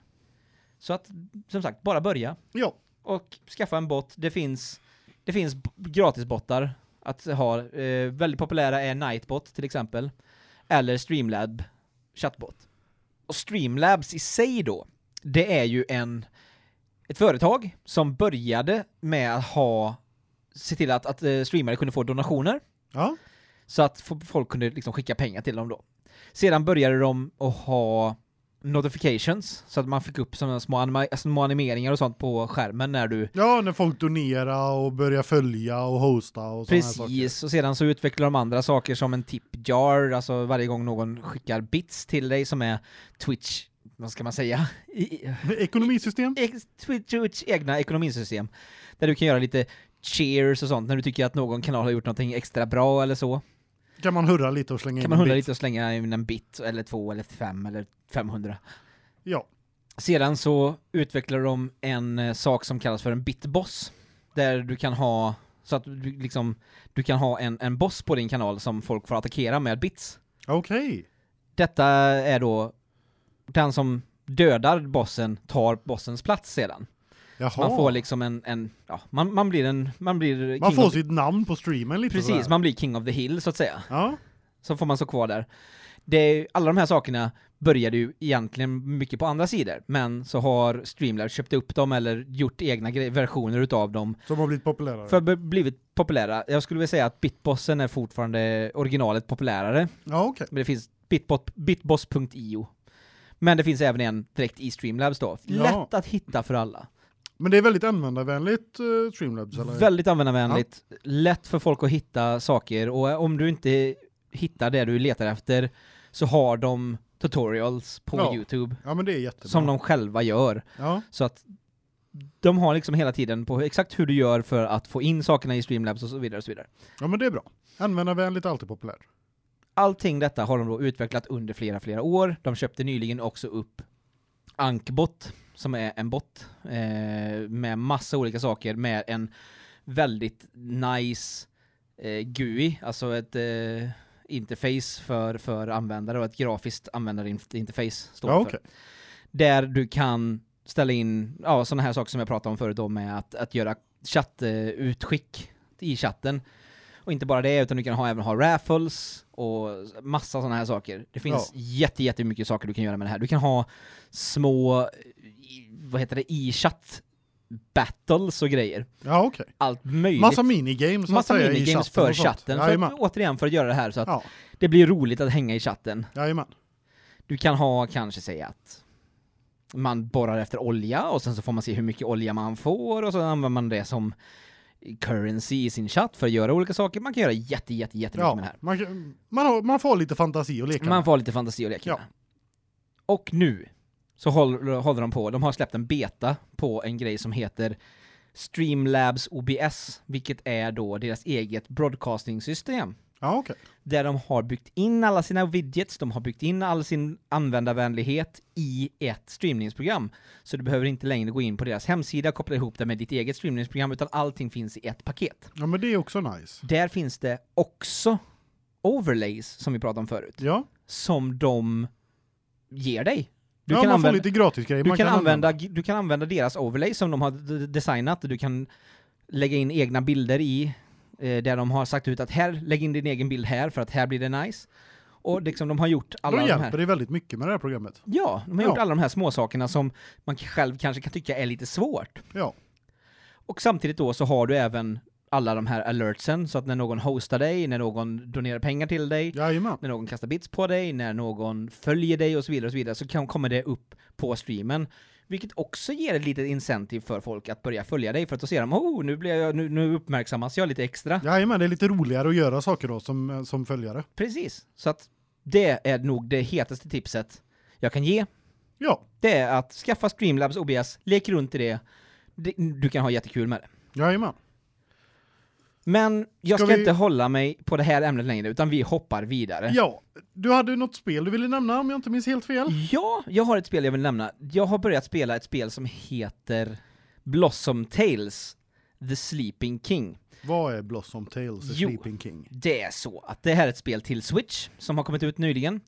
Så att, som sagt, bara börja. Ja, Och skaffa en bot. Det finns, det finns b- gratisbottar att ha. Eh, väldigt populära är Nightbot till exempel. Eller Streamlab chatbot. Och Streamlabs i sig då, det är ju en, ett företag som började med att ha, se till att, att eh, streamare kunde få donationer. ja, Så att fo- folk kunde liksom skicka pengar till dem då. Sedan började de att ha notifications, så att man fick upp sådana små, anima- små animeringar och sånt på skärmen när du... ja, när folk donera och börjar följa och hosta och sådana här saker. Precis, och sedan så utvecklar de andra saker som en tip jar, alltså varje gång någon skickar bits till dig som är Twitch, vad ska man säga? I- Ekonomisystem. ex- Twitch, Twitch egna ekonomisystem. Där du kan göra lite cheers och sånt när du tycker att någon kanal har gjort någonting extra bra eller så. Kan man hurra lite och slänga in Kan man en hundra bit? lite och slänga in en bit eller två eller fem eller 500. Ja, Sedan så utvecklar de en eh, sak som kallas för en bitboss. Där du kan ha, så att du liksom, du kan ha en, en boss på din kanal som folk får attackera med bits. okej. Detta är då den som dödar bossen tar bossens plats sedan. Jaha. Man får liksom en, en ja, man, man blir en, man blir... Ah. Man king får of, sitt namn på streamen lite precis, sådär. man blir king of the hill så att säga. Ja, så får man stå kvar där. Det, är- alla de här sakerna började ju egentligen mycket på andra sidor, men så har Streamlabs köpt upp dem eller gjort egna gre- versioner utav dem som har blivit populärare. för att bli- blivit populära. Jag skulle vilja säga att Bitbossen är fortfarande originalet populärare, Ja, okej. men det finns bitbot, bitboss.io. Men det finns även en direkt i Streamlabs då. Ja. Lätt att hitta för alla. Men det är väldigt användarvänligt eh, Streamlabs eller? Väldigt användarvänligt, lätt för folk att hitta saker och eh, om du inte hittar det du letar efter så har de tutorials på Ja, Youtube ja, men det är jättebra. som de själva gör. Ja, Så att de har liksom hela tiden på exakt hur du gör för att få in sakerna i Streamlabs och så vidare och så vidare. ja, men det är bra. Användarvänligt är alltid populärt. Allting detta har de då utvecklat under flera, flera år. De köpte nyligen också upp Ankbot, som är en bot eh, med massa olika saker, med en väldigt nice eh, GUI, alltså ett eh, interface för, för användare och ett grafiskt användarinterface. Står det Ja, för okej. där du kan ställa in ja, sådana här saker som jag pratade om förut då med att, att göra chattutskick i chatten. Och inte bara det, utan du kan ha, även ha raffles och massa sådana här saker. Det finns Ja. jätte, jättemycket saker du kan göra med det här. Du kan ha små, i- vad heter det, i-chatt battles och grejer. Ja, okej. Allt möjligt. Massa minigames så att Massa säga, i minigames chatten för och sånt. chatten. För att, Jajamän. återigen, för att göra det här så att Ja, det blir roligt att hänga i chatten. jajamän. Du kan ha kanske säga att man borrar efter olja och sen så får man se hur mycket olja man får och så använder man det som currency i sin chatt för att göra olika saker. Man kan göra jätte, jätte, jättemycket med det Ja, här. man, kan- man, har, man får lite fantasi och leka Man med. får ha lite fantasi och leka Ja. med. Och nu så håller, håller de på, de har släppt en beta på en grej som heter Streamlabs OBS, vilket är då deras eget broadcastingsystem. Ja, okej. där de har byggt in alla sina widgets, de har byggt in all sin användarvänlighet i ett streamningsprogram. Så du behöver inte längre gå in på deras hemsida och koppla ihop det med ditt eget streamningsprogram, utan allting finns i ett paket. Ja, men det är också nice. Där finns det också overlays, som vi pratade om förut, Ja, som de ger dig. Du ja kan man får använda lite gratis grejer. du man kan, använda, du kan använda deras overlay som de har d- designat, du kan lägga in egna bilder i, eh, där de har sagt ut att här, lägg in din egen bild här för att här blir det nice. Och liksom de har gjort alla Då de här... hjälper det väldigt mycket med det här programmet. Ja, de har gjort Ja. alla de här små sakerna som man k- själv kanske kan tycka är lite svårt. Ja, Och samtidigt då så har du även alla de här alertsen, så att när någon hostar dig, när någon donerar pengar till dig, jajamän. när någon kastar bits på dig, när någon följer dig och så vidare och så vidare så kan, kommer det upp på streamen. Vilket också ger ett litet incentiv för folk att börja följa dig för att då ser de oh, nu, blir jag, nu, nu uppmärksammas jag lite extra. Jajamän, det är lite roligare att göra saker då som, eh, som följare. Precis. Så att det är nog det hetaste tipset jag kan ge. Ja, Det är att skaffa Streamlabs OBS, lek runt i det. Det- Du kan ha jättekul med det. jajamän. Men jag Ska ska, vi- inte hålla mig på det här ämnet längre utan vi hoppar vidare. Ja, du hade ju något spel du ville nämna om jag inte minns helt fel. Ja, jag har ett spel jag vill nämna. Jag har börjat spela ett spel som heter Blossom Tales The Sleeping King. Vad är Blossom Tales The Jo. Sleeping King? Det är så att det här är ett spel till Switch som har kommit ut nyligen.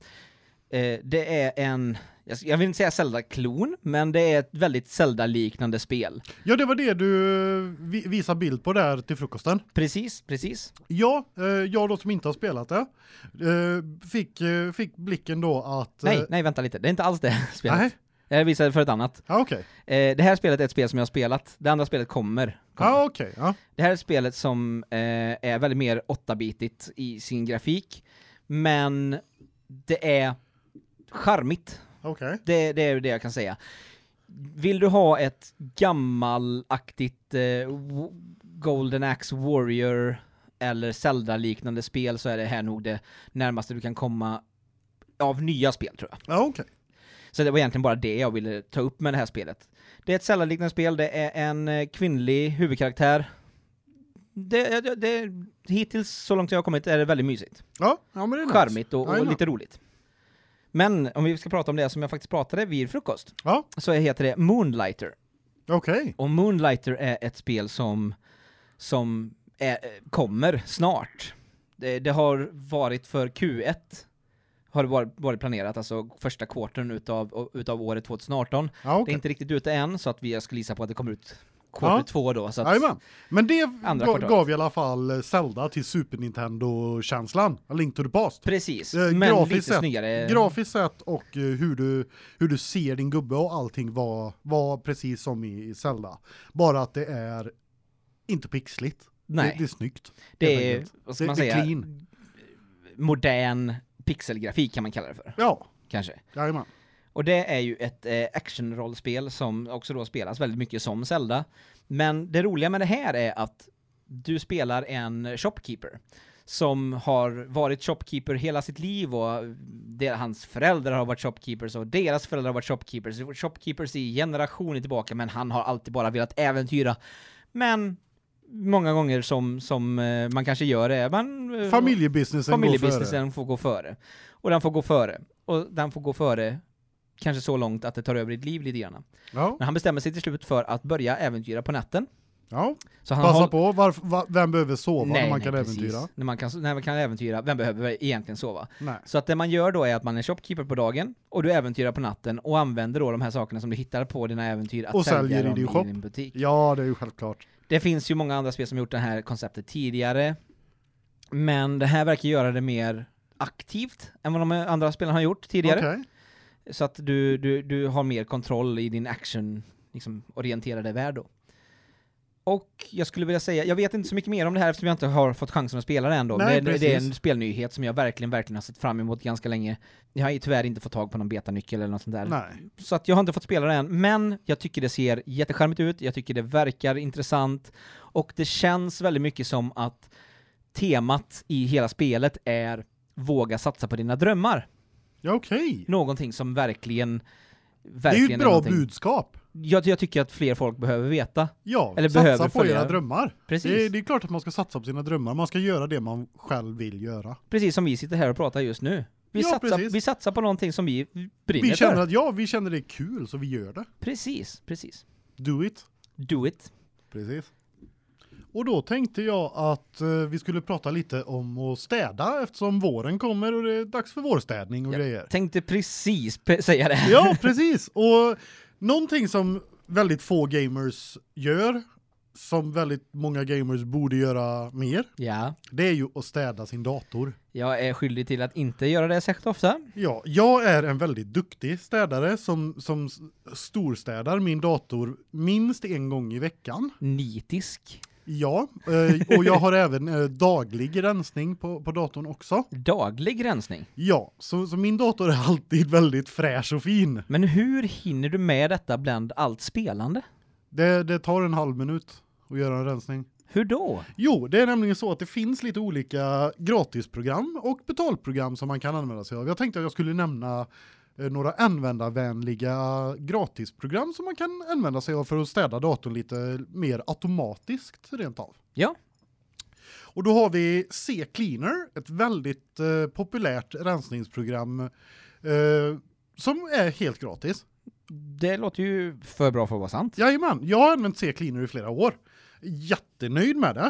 Eh, det är en, jag- jag vill inte säga Zelda-klon, men det är ett väldigt Zelda-liknande spel. Ja, det var det du vi- visade bild på där till frukosten. Precis, precis. Ja, eh, jag då som inte har spelat det, eh, fick, eh, fick blicken då att... eh, Nej, nej vänta lite, det är inte alls det här spelet. Nej. Jag visade för ett annat. Ja, okej. Eh, det här spelet är ett spel som jag har spelat, det andra spelet kommer. kommer. Ja, okej. Ja. Det här är spelet som eh, är väldigt mer 8-bitigt i sin grafik, men det är charmigt. Okej. Det, det är det jag kan säga. Vill du ha ett gammalaktigt eh, w- Golden Axe Warrior eller Zelda-liknande spel så är det här nog det närmaste du kan komma av nya spel tror jag. Ja, okej. Så det var egentligen bara det jag ville ta upp med det här spelet. Det är ett Zelda-liknande spel, det är en eh, kvinnlig huvudkaraktär. Det, det, det, hittills, så långt jag har kommit, är det väldigt mysigt. Ja, ja, men det är nice. Charmigt och, och Jajamän. lite roligt. Men om vi ska prata om det som jag faktiskt pratade vid frukost, Ja, så heter det Moonlighter. okej. Och Moonlighter är ett spel som, som är, eh, kommer snart. Det, det har varit för Q1, har det varit, varit planerat, alltså första kvarten utav, utav året 2018. Ja, Det är okej. inte riktigt ute än, så att vi jag skulle gissa på att det kommer ut quarter Ja. två då. Så att, Jajamän. Men det Andra gav, kvartalet. gav i alla fall Zelda till Super Nintendo-känslan. A Link to the Past. precis, Eh, men lite grafiskt sett- snyggare. Grafiskt sett och eh, hur du, hur du ser din gubbe och allting var, var precis som i i Zelda. Bara att det är inte pixligt. Nej, Det, det är snyggt. det, helt är, enkelt. vad ska Det- man det är säga, clean. modern pixelgrafik kan man kalla det för, Ja, kanske. jajamän. Och det är ju ett eh, actionrollspel som också då spelas väldigt mycket som Zelda. Men det roliga med det här är att du spelar en shopkeeper som har varit shopkeeper hela sitt liv och det, hans föräldrar har varit shopkeepers och deras föräldrar har varit shopkeepers. Shopkeepers i generationer tillbaka men han har alltid bara velat äventyra. Men många gånger som, som eh, man kanske gör det är man... eh, Familjebusinessen går familjebusinessen får gå före. Och den får gå före. Och den får gå före kanske så långt att det tar över ditt liv lite grann. före. Ja, Men han bestämmer sig till slut för att börja äventyra på natten. ja. Så han Passa håll- på, varf, va, vem behöver sova Nej, när man nej, kan precis. äventyra? När man kan, när man kan äventyra, vem behöver egentligen sova? Nej. Så att det man gör då är att man är shopkeeper på dagen och du äventyrar på natten och använder då de här sakerna som du hittar på dina äventyr att Och sälja säljer i dem din shop. din butik. Ja, det är ju självklart. Det finns ju många andra spel som gjort det här konceptet tidigare. Men det här verkar göra det mer aktivt än vad de andra spelen har gjort tidigare. Okej. Så att du, du, du har mer kontroll i din action liksom, orienterade värld då. Och jag skulle vilja säga, jag vet inte så mycket mer om det här eftersom jag inte har fått chansen att spela det ändå. Nej, det, är- det är en precis. spelnyhet som jag verkligen, verkligen har sett fram emot ganska länge. Jag har ju tyvärr inte fått tag på någon betanyckel eller något sånt där. Nej. Så att jag har inte fått spela det än, men jag tycker det ser jättecharmigt ut, jag tycker det verkar intressant och det känns väldigt mycket som att temat i hela spelet är våga satsa på dina drömmar Ja, okej. någonting som verkligen Det är verkligen ju ett bra någonting- budskap. jag, jag tycker att fler folk behöver veta. Ja, Eller satsa behöver på följa era dem. drömmar. Precis. Det, är- det är klart att man ska satsa på sina drömmar. Man ska göra det man själv vill göra. Precis som vi sitter här och pratar just nu. Vi, Ja, satsar, precis. vi satsar på någonting som vi brinner Vi känner för. att ja, vi känner det är kul så vi gör det. Precis, precis. Do it. Do it. Precis. Och då tänkte jag att eh, vi skulle prata lite om att städa eftersom våren kommer och det är dags för vårstädning och Ja. grejer. Tänkte precis pe- säga det. Ja, precis. Och någonting som väldigt få gamers gör, som väldigt många gamers borde göra mer, Ja, det är ju att städa sin dator. jag är skyldig till att inte göra det särskilt ofta. Ja, jag är en väldigt duktig städare som, som s- storstädar min dator minst en gång i veckan. Nitisk. Ja, eh, och jag har även eh, daglig rensning på, på datorn också. Daglig rensning. Ja, så, så min dator är alltid väldigt fräsch och fin. Men hur hinner du med detta bland allt spelande? Det, det tar en halv minut att göra en rensning. Hur då? Jo, det är nämligen så att det finns lite olika gratisprogram och betalprogram som man kan använda sig av. Jag tänkte att jag skulle nämna eh, några användarvänliga gratisprogram som man kan använda sig av för att städa datorn lite mer automatiskt rent av. Ja. Och då har vi C-Cleaner, ett väldigt eh, populärt rensningsprogram eh, som är helt gratis. Det låter ju för bra för att vara sant. Jajamän, jag har använt C-Cleaner i flera år. Jättenöjd med det.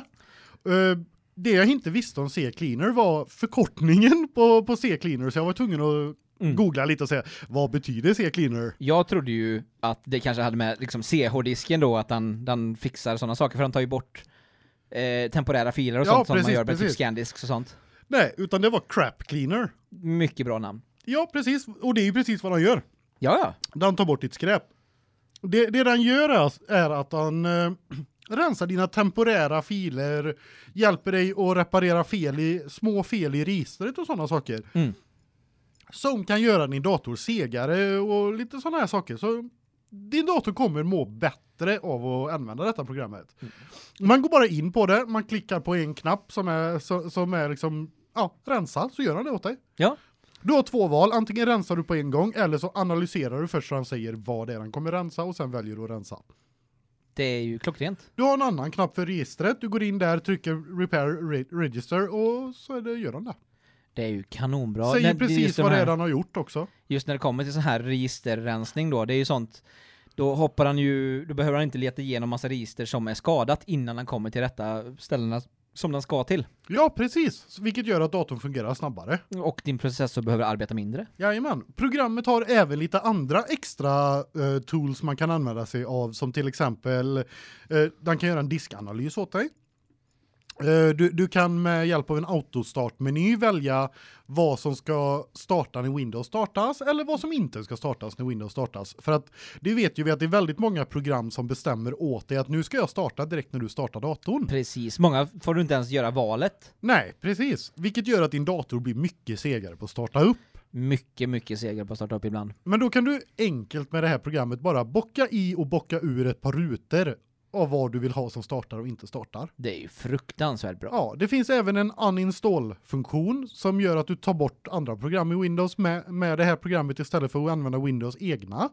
Eh, det jag inte visste om C-Cleaner var förkortningen på, på C-Cleaner så jag var tvungen att Mm. googla lite och säga vad betyder C-Cleaner? Jag trodde ju att det kanske hade med liksom CH-disken då, att den, den fixar sådana saker, för den tar ju bort eh, temporära filer och Ja, sånt som man precis, gör med typ precis. Scandisks och sånt. Nej, utan det var Crap Cleaner. Mycket bra namn. Ja, precis. Och det är ju precis vad de gör. Ja, ja. Den tar bort ditt skräp. Det, det den gör är, är att den eh, rensar dina temporära filer, hjälper dig att reparera fel i, små fel i registret och sådana saker. Mm. Som kan göra din dator segare och lite sådana här saker. Så din dator kommer må bättre av att använda detta programmet. Man går bara in på det, man klickar på en knapp som är, så- som är liksom, ja, rensa, så gör han det åt dig. Ja. Du har två val, antingen rensar du på en gång eller så analyserar du först så han säger vad det är han kommer rensa och sen väljer du att rensa. Det är ju klockrent. Du har en annan knapp för registret, du går in där, trycker repair re- register och så är det, gör han det. Det är ju kanonbra. säger Nej, det är just precis de vad det här- är han har gjort också. just när det kommer till sån här registerrensning då, det är ju sånt då hoppar han ju, då behöver han inte leta igenom massa register som är skadat innan han kommer till rätta ställena som den ska till. Ja, precis. Så- Vilket gör att datorn fungerar snabbare. Och din processor behöver arbeta mindre. Jajamän. Programmet har även lite andra extra eh, tools man kan använda sig av som till exempel eh, den kan göra en diskanalys åt dig. Eh, du, du kan med hjälp av en autostartmeny välja vad som ska starta när Windows startas eller vad som inte ska startas när Windows startas. För att det vet ju vi att det är väldigt många program som bestämmer åt dig att nu ska jag starta direkt när du startar datorn. Precis, många får du inte ens göra valet. Nej, precis. Vilket gör att din dator blir mycket segare på att starta upp. Mycket, mycket segrar på att starta upp ibland. Men då kan du enkelt med det här programmet bara bocka i och bocka ur ett par rutor av vad du vill ha som startar och inte startar. Det är ju fruktansvärt bra. Ja, det finns även en uninstall-funktion som gör att du tar bort andra program i Windows med, med det här programmet istället för att använda Windows egna.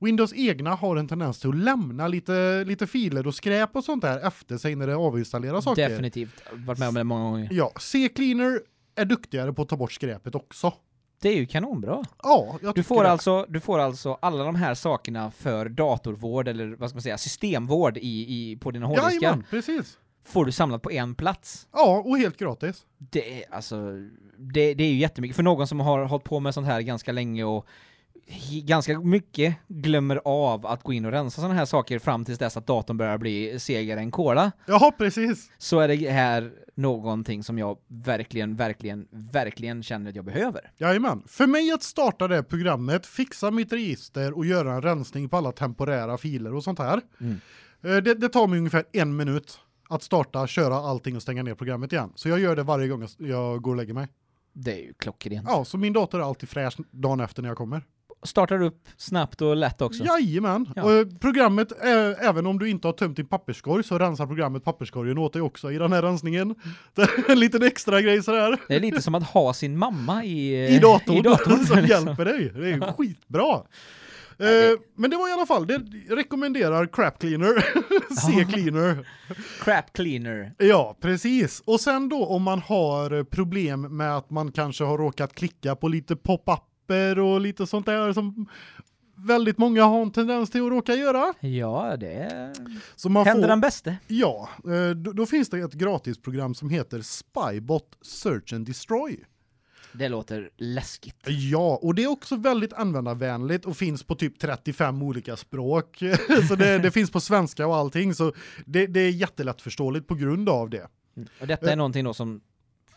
Windows egna har en tendens till att lämna lite, lite filer och skräp och sånt där efter sig när det avinstallerar saker. Definitivt. Varit med om det många gånger. Ja, C-Cleaner är duktigare på att ta bort skräpet också. Det är ju kanonbra. Ja, jag Du tycker får, det. alltså, du får alltså alla de här sakerna för datorvård eller vad ska man säga, systemvård i, i, på dina hårddiskar. Jajamän, precis. Får du samlat på en plats. Ja, och helt gratis. Det är, alltså, det, det är ju jättemycket. För någon som har hållit på med sånt här ganska länge och hi- ganska mycket glömmer av att gå in och rensa sådana här saker fram tills dess att datorn börjar bli segare än kola, Ja, precis. så är det här någonting som jag verkligen, verkligen, verkligen känner att jag behöver. Jajamän. För mig att starta det här programmet, fixa mitt register och göra en rensning på alla temporära filer och sånt här. Mm. Eh, Det, det tar mig ungefär en minut att starta, köra allting och stänga ner programmet igen. Så jag gör det varje gång jag s- jag går och lägger mig. Det är ju klockrent. Ja, så min dator är alltid fräsch dagen efter när jag kommer. Startar upp snabbt och lätt också. Jajamän. Ja. Och eh, programmet, eh, även om du inte har tömt din papperskorg så rensar programmet papperskorgen åt dig också i den här rensningen. Det är en liten extra grej sådär. Det är lite som att ha sin mamma i, i datorn, i datorn som liksom. hjälper dig. Det är ju skitbra. det- Eh, men det var i alla fall, det rekommenderar crap cleaner, C-cleaner. Crap cleaner. Ja, precis. Och sen då om man har problem med att man kanske har råkat klicka på lite pop-upper och lite sånt där som väldigt många har en tendens till att råka göra. Ja, det Så man händer får, den bäste. Ja, eh, då, då finns det ett gratisprogram som heter Spybot Search and Destroy. Det låter läskigt. Ja, och det är också väldigt användarvänligt och finns på typ 35 olika språk. så det, det finns på svenska och allting, så det, det är jättelättförståeligt på grund av det. Och Eh. detta är någonting då som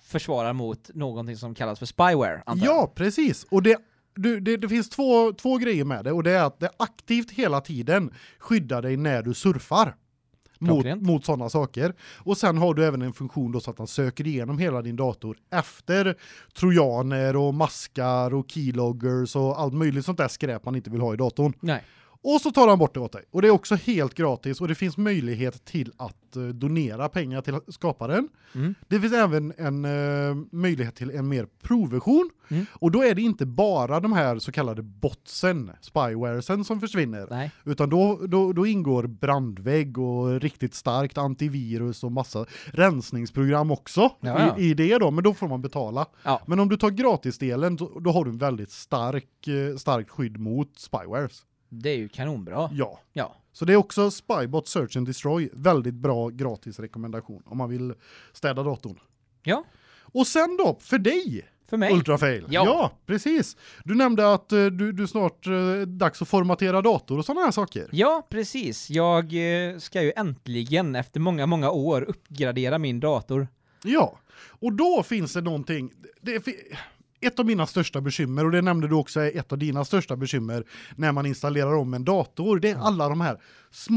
försvarar mot någonting som kallas för spyware, antar jag. Ja, precis. Och det, du, det, det finns två, två grejer med det och det är att det aktivt hela tiden skyddar dig när du surfar. Mot, Klockrent. mot sådana saker. Och sen har du även en funktion då så att den söker igenom hela din dator efter trojaner och maskar och keyloggers och allt möjligt sånt där skräp man inte vill ha i datorn. Nej. Och så tar han bort det åt dig. Och det är också helt gratis och det finns möjlighet till att eh, donera pengar till skaparen. Mm. Det finns även en eh, möjlighet till en mer provversion. Mm. Och då är det inte bara de här så kallade botsen, spywaresen som försvinner. Nej. Utan då, då, då ingår brandvägg och riktigt starkt antivirus och massa rensningsprogram också Ja, I, i det då. Men då får man betala. Ja. Men om du tar gratisdelen då, då har du en väldigt stark, eh, starkt skydd mot spywares. Det är ju kanonbra. Ja. Ja. Så det är också Spybot Search and Destroy, väldigt bra gratis rekommendation om man vill städa datorn. Ja. Och sen då, för dig, För mig. Ultrafail. Ja. precis. Du nämnde att eh, du, du snart eh, dags att formatera dator och sådana här saker. Ja, precis. Jag eh, ska ju äntligen efter många, många år uppgradera min dator. Ja, och då finns det någonting. Det är fi- ett av mina största bekymmer, och det nämnde du också är ett av dina största bekymmer när man installerar om en dator, det är alla de här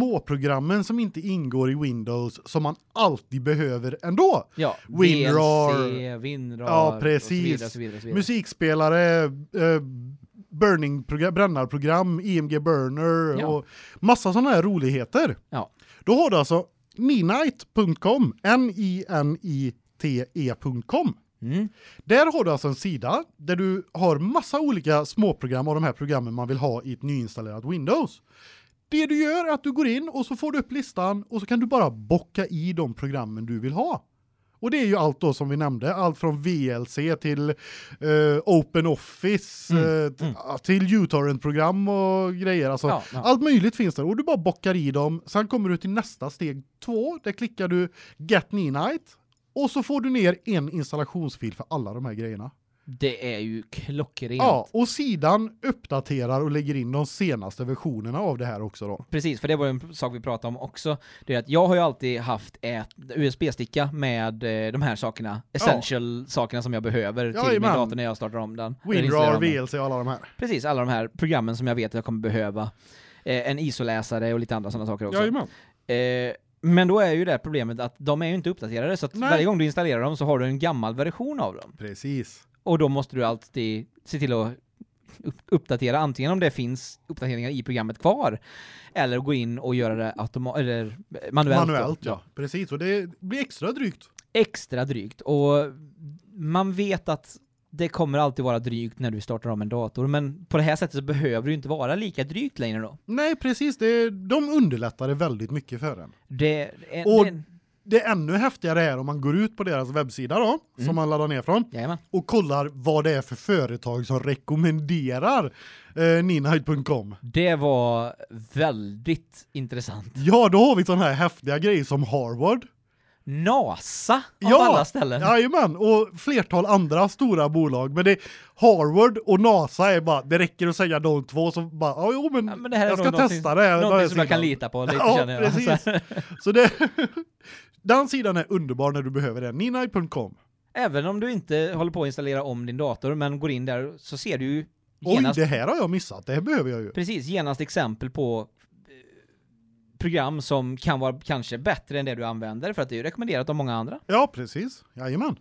småprogrammen som inte ingår i Windows som man alltid behöver ändå. Ja, WinRAR. VLC, WinRAR Ja, och så vidare, och så vidare, och så vidare. musikspelare, eh, burning brännarprogram, IMG burner Ja. och massa sådana här roligheter. Ja. Då har du alltså ninite.com, n i n i t E e.com. Mm. Där har du alltså en sida där du har massa olika småprogram av de här programmen man vill ha i ett nyinstallerat Windows. Det du gör är att du går in och så får du upp listan och så kan du bara bocka i de programmen du vill ha. Och det är ju allt då som vi nämnde, allt från VLC till eh, Open Office Mm, eh, t- ja, till uTorrent-program och grejer. Alltså, Ja, ja. Allt möjligt finns där och du bara bockar i dem. Sen kommer du till nästa steg två, där klickar du Get Ninite och så får du ner en installationsfil för alla de här grejerna. Det är ju klockrent. Ja, och sidan uppdaterar och lägger in de senaste versionerna av det här också då. Precis, för det var ju en sak vi pratade om också. Det är att jag har ju alltid haft ett USB-sticka med eh, de här sakerna, essential sakerna som jag behöver till min Jajamän. dator när jag startar om den. Eller installerar WinRAR, om den. VLC och alla de här. Precis, alla de här programmen som jag vet att jag kommer behöva. Eh, en ISO-läsare och lite andra sådana saker också. Jajamän. Eh, men då är ju det här problemet att de är ju inte uppdaterade, så att Nej. varje gång du installerar dem så har du en gammal version av dem. Precis. Och då måste du alltid se till att upp- uppdatera, antingen om det finns uppdateringar i programmet kvar, eller gå in och göra det automa- eller eh, manuellt. då. Manuellt, ja. Precis, och det blir extra drygt. Extra drygt. Och man vet att det kommer alltid vara drygt när du startar om en dator, men på det här sättet så behöver det ju inte vara lika drygt längre då. Nej, precis. Det, de underlättar det väldigt mycket för en. Det, en, Och- det, Det är ännu häftigare är om man går ut på deras webbsida då, Mm. som man laddar ner från, jajamän. och kollar vad det är för företag som rekommenderar eh, ninite.com. det var väldigt intressant. Ja, då har vi sådana här häftiga grejer som Harvard. NASA av Ja! alla ställen. Jajamän, och flertal andra stora bolag. Men det Harvard och NASA är bara, det räcker att säga de två som bara, ja jo men, Ja, men det här är jag nog ska någonting- testa det. här, den här Någonting som jag kan sidan. lita på lite Ja, känner jag. precis. Så det, den sidan är underbar när du behöver den. Ninai.com. Även om du inte håller på att installera om din dator men går in där så ser du ju Oj, genast, det här har jag missat, det här behöver jag ju. precis, genast exempel på eh, program som kan vara kanske bättre än det du använder för att det är ju rekommenderat av många andra. Ja, precis. Jajamän.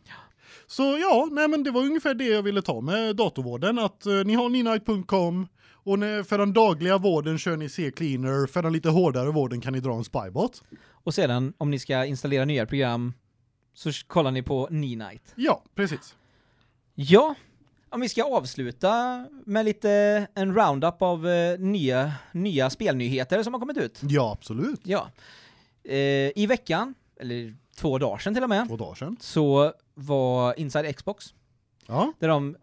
Så ja, nej men det var ungefär det jag ville ta med datorvården. Att eh, ni har ninite.com och när, för den dagliga vården kör ni C-cleaner. För den lite hårdare vården kan ni dra en spybot. Och sedan om ni ska installera nya program så s- kollar ni på Ninite. Ja, precis. Ja, Om vi ska avsluta med lite en roundup av eh, nya, nya spelnyheter som har kommit ut. Ja, absolut. Ja. Eh, I veckan, eller två dagar sedan till och med, Två dagar sedan. så var Inside Xbox, Ja, där de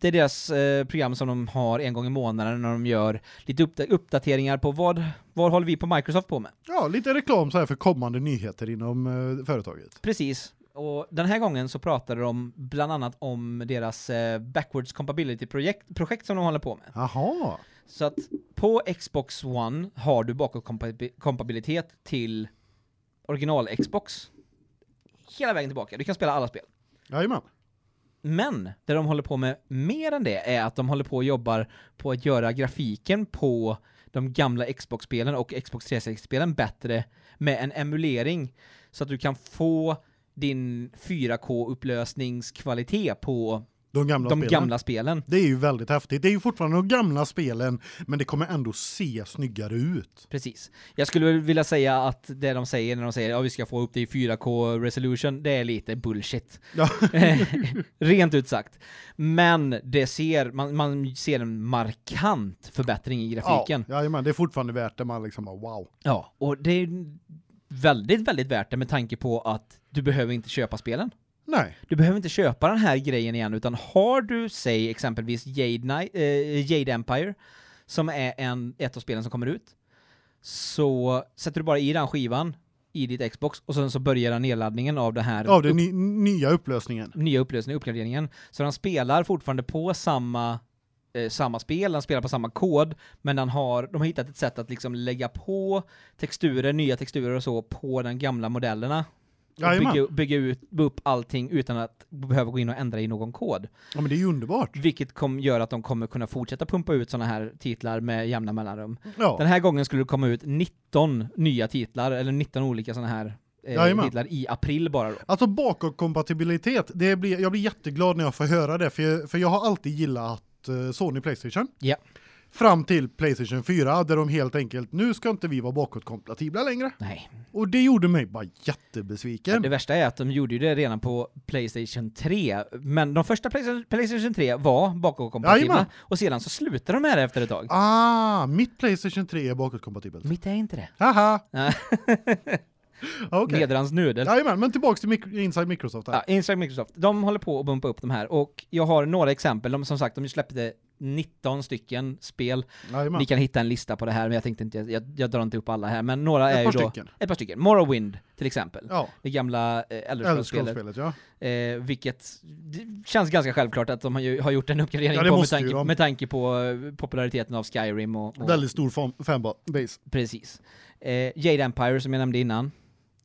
det är deras eh, program som de har en gång i månaden när de gör lite uppda- uppdateringar på vad, vad håller vi på Microsoft på med. ja lite reklam så här för kommande nyheter inom eh, företaget. Precis. Och den här gången så pratade de bland annat om deras eh, backwards compatibility-projekt projekt som de håller på med. Jaha, Så att på Xbox One har du bakåtkompatibilitet till original-Xbox hela vägen tillbaka. Du kan spela alla spel. jajamän. Men det de håller på med mer än det är att de håller på och jobbar på att göra grafiken på de gamla Xbox-spelen och Xbox 360-spelen bättre med en emulering så att du kan få din 4K-upplösningskvalitet på De gamla de spelen. gamla spelen. Det är ju väldigt häftigt. Det är ju fortfarande de gamla spelen, men det kommer ändå se snyggare ut. Precis. Jag skulle väl vilja säga att det de säger när de säger att vi ska få upp det i 4K resolution, det är lite bullshit. Ja. Rent ut sagt. Men det ser, man, man ser en markant förbättring i grafiken. Ja, jajamän, det är fortfarande värt det. Man liksom bara, wow. Ja, och det är väldigt, väldigt värt det med tanke på att du behöver inte köpa spelen. Nej, Du behöver inte köpa den här grejen igen, utan har du, säg exempelvis Jade, Knight, eh, Jade Empire, som är en, ett av spelen som kommer ut, så sätter du bara i den skivan i ditt Xbox och sen så börjar den nedladdningen av den här av den ny, nya upplösningen. nya upplösningen, uppgraderingen. Så den spelar fortfarande på samma, eh, samma spel, den spelar på samma kod, men den har, de har hittat ett sätt att liksom lägga på texturer, nya texturer och så, på de gamla modellerna. Och Jajamän. bygga, bygga ut, upp allting utan att behöva gå in och ändra i någon kod. Ja, men det är ju underbart. Vilket kom, gör att de kommer kunna fortsätta pumpa ut sådana här titlar med jämna mellanrum. Den Ja, här gången skulle det komma ut 19 nya titlar, eller 19 olika sådana här eh, Jajamän. titlar i april bara då. alltså bakåtkompatibilitet, det blir, jag blir jätteglad när jag får höra det, för jag, för jag har alltid gillat eh, Sony Playstation. Ja. Fram till Playstation 4, där de helt enkelt, nu ska inte vi vara bakåtkompatibla längre. Nej, Och det gjorde mig bara jättebesviken. Det värsta är att de gjorde ju det redan på Playstation 3, men de första Playsta- Playstation 3 var bakåtkompatibla, Jajamän. och sedan så slutade de med det efter ett tag. Ah, mitt Playstation 3 är bakåtkompatibelt. Mitt är inte det. Haha! Nej. Okej. Nedrans nudel. Jajamän, men tillbaks till mik- Inside Microsoft här. Ja, Instagram Microsoft, de håller på att bumpa upp de här, och jag har några exempel, de, som sagt, de släppte 19 stycken spel. Jajamän. Ni kan hitta en lista på det här, men jag tänkte inte, jag, jag drar inte upp alla här, men några Ett är par ju då... stycken. Ett par stycken. Morrowind, till exempel. Ja, Det gamla eh, Elder Elder Scrolls-spelet. Scrolls-spelet, ja. Eh, vilket det känns ganska självklart att de har, ju, har gjort en uppgradering Ja, det på med måste ju tanke, de. med tanke på eh, populariteten av Skyrim och, och Väldigt stor fan- fanbase. precis. Eh, Jade Empire som jag nämnde innan.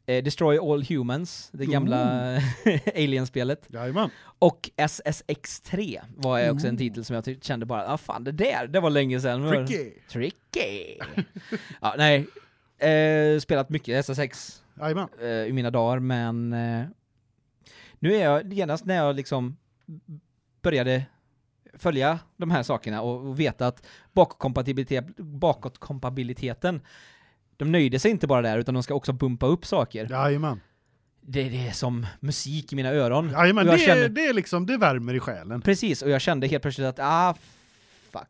Eh, Destroy All Humans, det gamla Alien-spelet. Jajamän. Och SSX3 var jag också en titel som jag ty- kände bara, ah fan det där, det var länge sedan. Tricky! Tricky! ja, nej. Eh, spelat mycket SSX Jajamän. eh, i mina dagar, men eh, nu är jag genast när jag liksom började följa de här sakerna och, och veta att bakåtkompatibilitet- bakåtkompatibiliteten, de nöjde sig inte bara där utan de ska också bumpa upp saker. Jajamän. Det, det är som musik i mina öron. Jajamän, Och jag det, känner- är, det är liksom, det värmer i själen. Precis, och jag kände helt plötsligt att ah, fuck.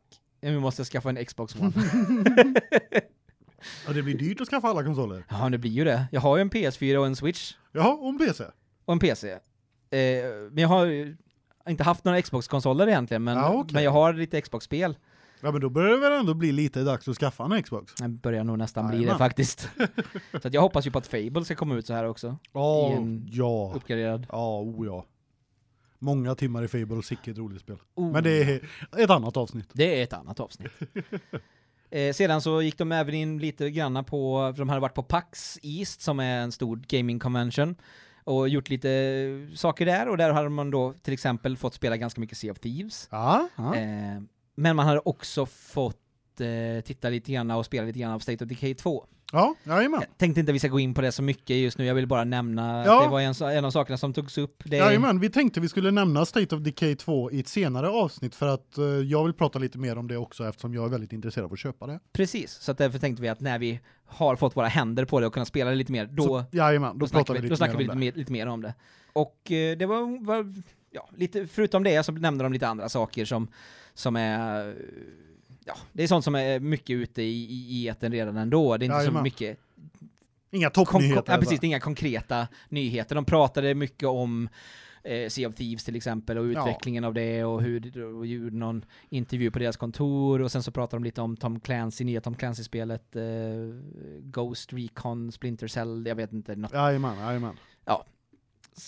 Nu måste jag skaffa en Xbox One. Ja, det blir dyrt att skaffa alla konsoler. ja, men det blir ju det. Jag har ju en PS4 och en Switch Jaha, och en PC. och en PC. Eh, men jag har ju inte haft några Xbox-konsoler egentligen, men, Ah, okej. men jag har lite Xbox-spel. Ja, men då börjar det väl ändå bli lite dags att skaffa en Xbox. Det börjar nog nästan bli Jajamän. det faktiskt. så att jag hoppas ju på att Fable ska komma ut så här också, Ja, I en- ja. uppgraderad. Ja, oh ja. Många timmar i Fable, sicket roligt spel. Oh. Men det är ett annat avsnitt. Det är ett annat avsnitt. Eh, sedan så gick de även in lite granna på, för de hade varit på PAX East som är en stor gaming convention och gjort lite saker där och där hade man då till exempel fått spela ganska mycket Sea of Thieves. Ja, ja. Eh, men man hade också fått eh, titta lite grann och spela lite grann av State of Decay 2. Ja, jajamän. Jag tänkte inte att vi ska gå in på det så mycket just nu, jag vill bara nämna Ja. att det var en, så- en av sakerna som togs upp. Det är, Jajamän, vi tänkte vi skulle nämna State of Decay 2 i ett senare avsnitt för att eh, jag vill prata lite mer om det också eftersom jag är väldigt intresserad av att köpa det. precis, så att därför tänkte vi att när vi har fått våra händer på det och kunnat spela det lite mer, då, Så, jajamän, då, då pratar snackar vi vi, lite då mer snackar om vi det. lite, mer, lite mer om det. Och eh, det var, var ja, lite, förutom det så nämnde de lite andra saker som, som är, eh, ja, det är sånt som är mycket ute i, i, i etern redan ändå, det är inte så Jajamän. mycket Inga Kon- kon- toppnyheter. ja, precis, det är inga konkreta nyheter. De pratade mycket om eh, Sea of Thieves till exempel och Ja. utvecklingen av det och hur det- och gjorde någon intervju på deras kontor och sen så pratade de lite om Tom Clancy, nya Tom Clancy-spelet eh, Ghost Recon, Splinter Cell, jag vet inte, något. Jajamän, jajamän.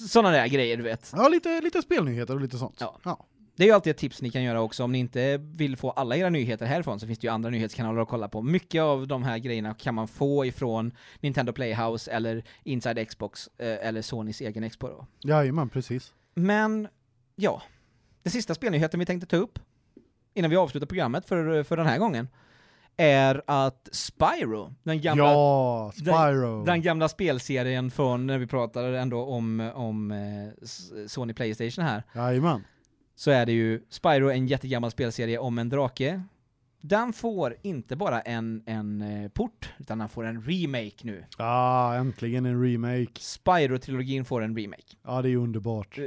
sådana där grejer du vet. Ja, lite, lite spelnyheter och lite sånt. Ja. ja. Det är ju alltid ett tips ni kan göra också om ni inte vill få alla era nyheter härifrån så finns det ju andra nyhetskanaler att kolla på. Mycket av de här grejerna kan man få ifrån Nintendo Playhouse eller Inside Xbox eh, eller Sonys egen Expo då. Jajamän, precis. Men ja, den sista spelnyheten vi tänkte ta upp innan vi avslutar programmet för, för den här gången är att Spyro, den gamla, ja, Spyro. den gamla spelserien från när vi pratade ändå om, om eh, S- Sony Playstation här, Jajamän. så är det ju Spyro, en jättegammal spelserie om en drake. Den får inte bara en, en eh, port, utan den får en remake nu. Ja, äntligen en remake. Spyro-trilogin får en remake. Ja, det är ju underbart.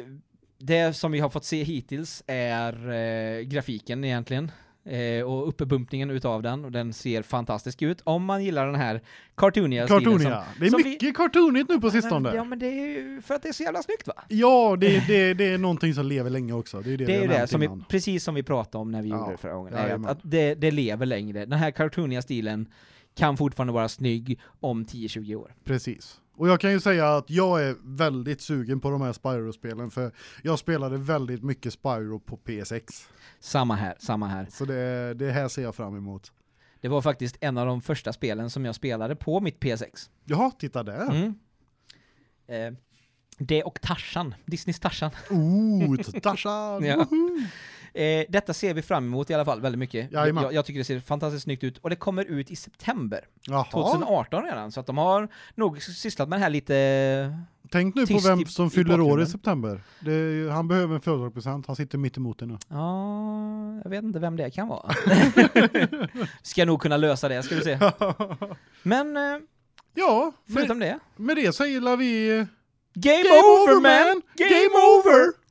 det som vi har fått se hittills är eh, grafiken egentligen. Eh, och uppebumpningen utav den, och den ser fantastisk ut. Om man gillar den här cartooniga stilen som... Cartooniga. Det är som vi- mycket cartoonigt nu på Men, ja sistone. men det är ju för att det är så jävla snyggt va? Ja, det, det, det är någonting som lever länge också. Det är det, Det är ju vi har det, nämnt som vi, innan. precis som vi pratade om när vi Ja, gjorde det förra gången, är att, jajamän. att det, det lever längre. Den här cartooniga stilen kan fortfarande vara snygg om 10-20 år. Precis. Och jag kan ju säga att jag är väldigt sugen på de här Spyro-spelen för jag spelade väldigt mycket Spyro på PSX. Samma här, samma här. Så det, det här ser jag fram emot. Det var faktiskt en av de första spelen som jag spelade på mitt PS6. Jaha, titta där. Mm. Eh, det och Tarzan, Disneys Tarzan. Oh, Tarzan! Ja. woho! Eh, detta ser vi fram emot i alla fall väldigt mycket. Jajamän. Jag, jag tycker det ser fantastiskt snyggt ut och det kommer ut i september Jaha, 2018 redan så att de har nog sysslat med det här lite. tänk nu på tyst i- vem som i fyller år i bakgrunden. september. Det, är ju- han behöver en födelsedagspresent, han sitter mitt emot det nu. Ja, jag vet inte vem det kan vara. ska nog kunna lösa det ska du se. Men eh, ja, med, förutom det. med det så gillar vi... Game, over man! Game over!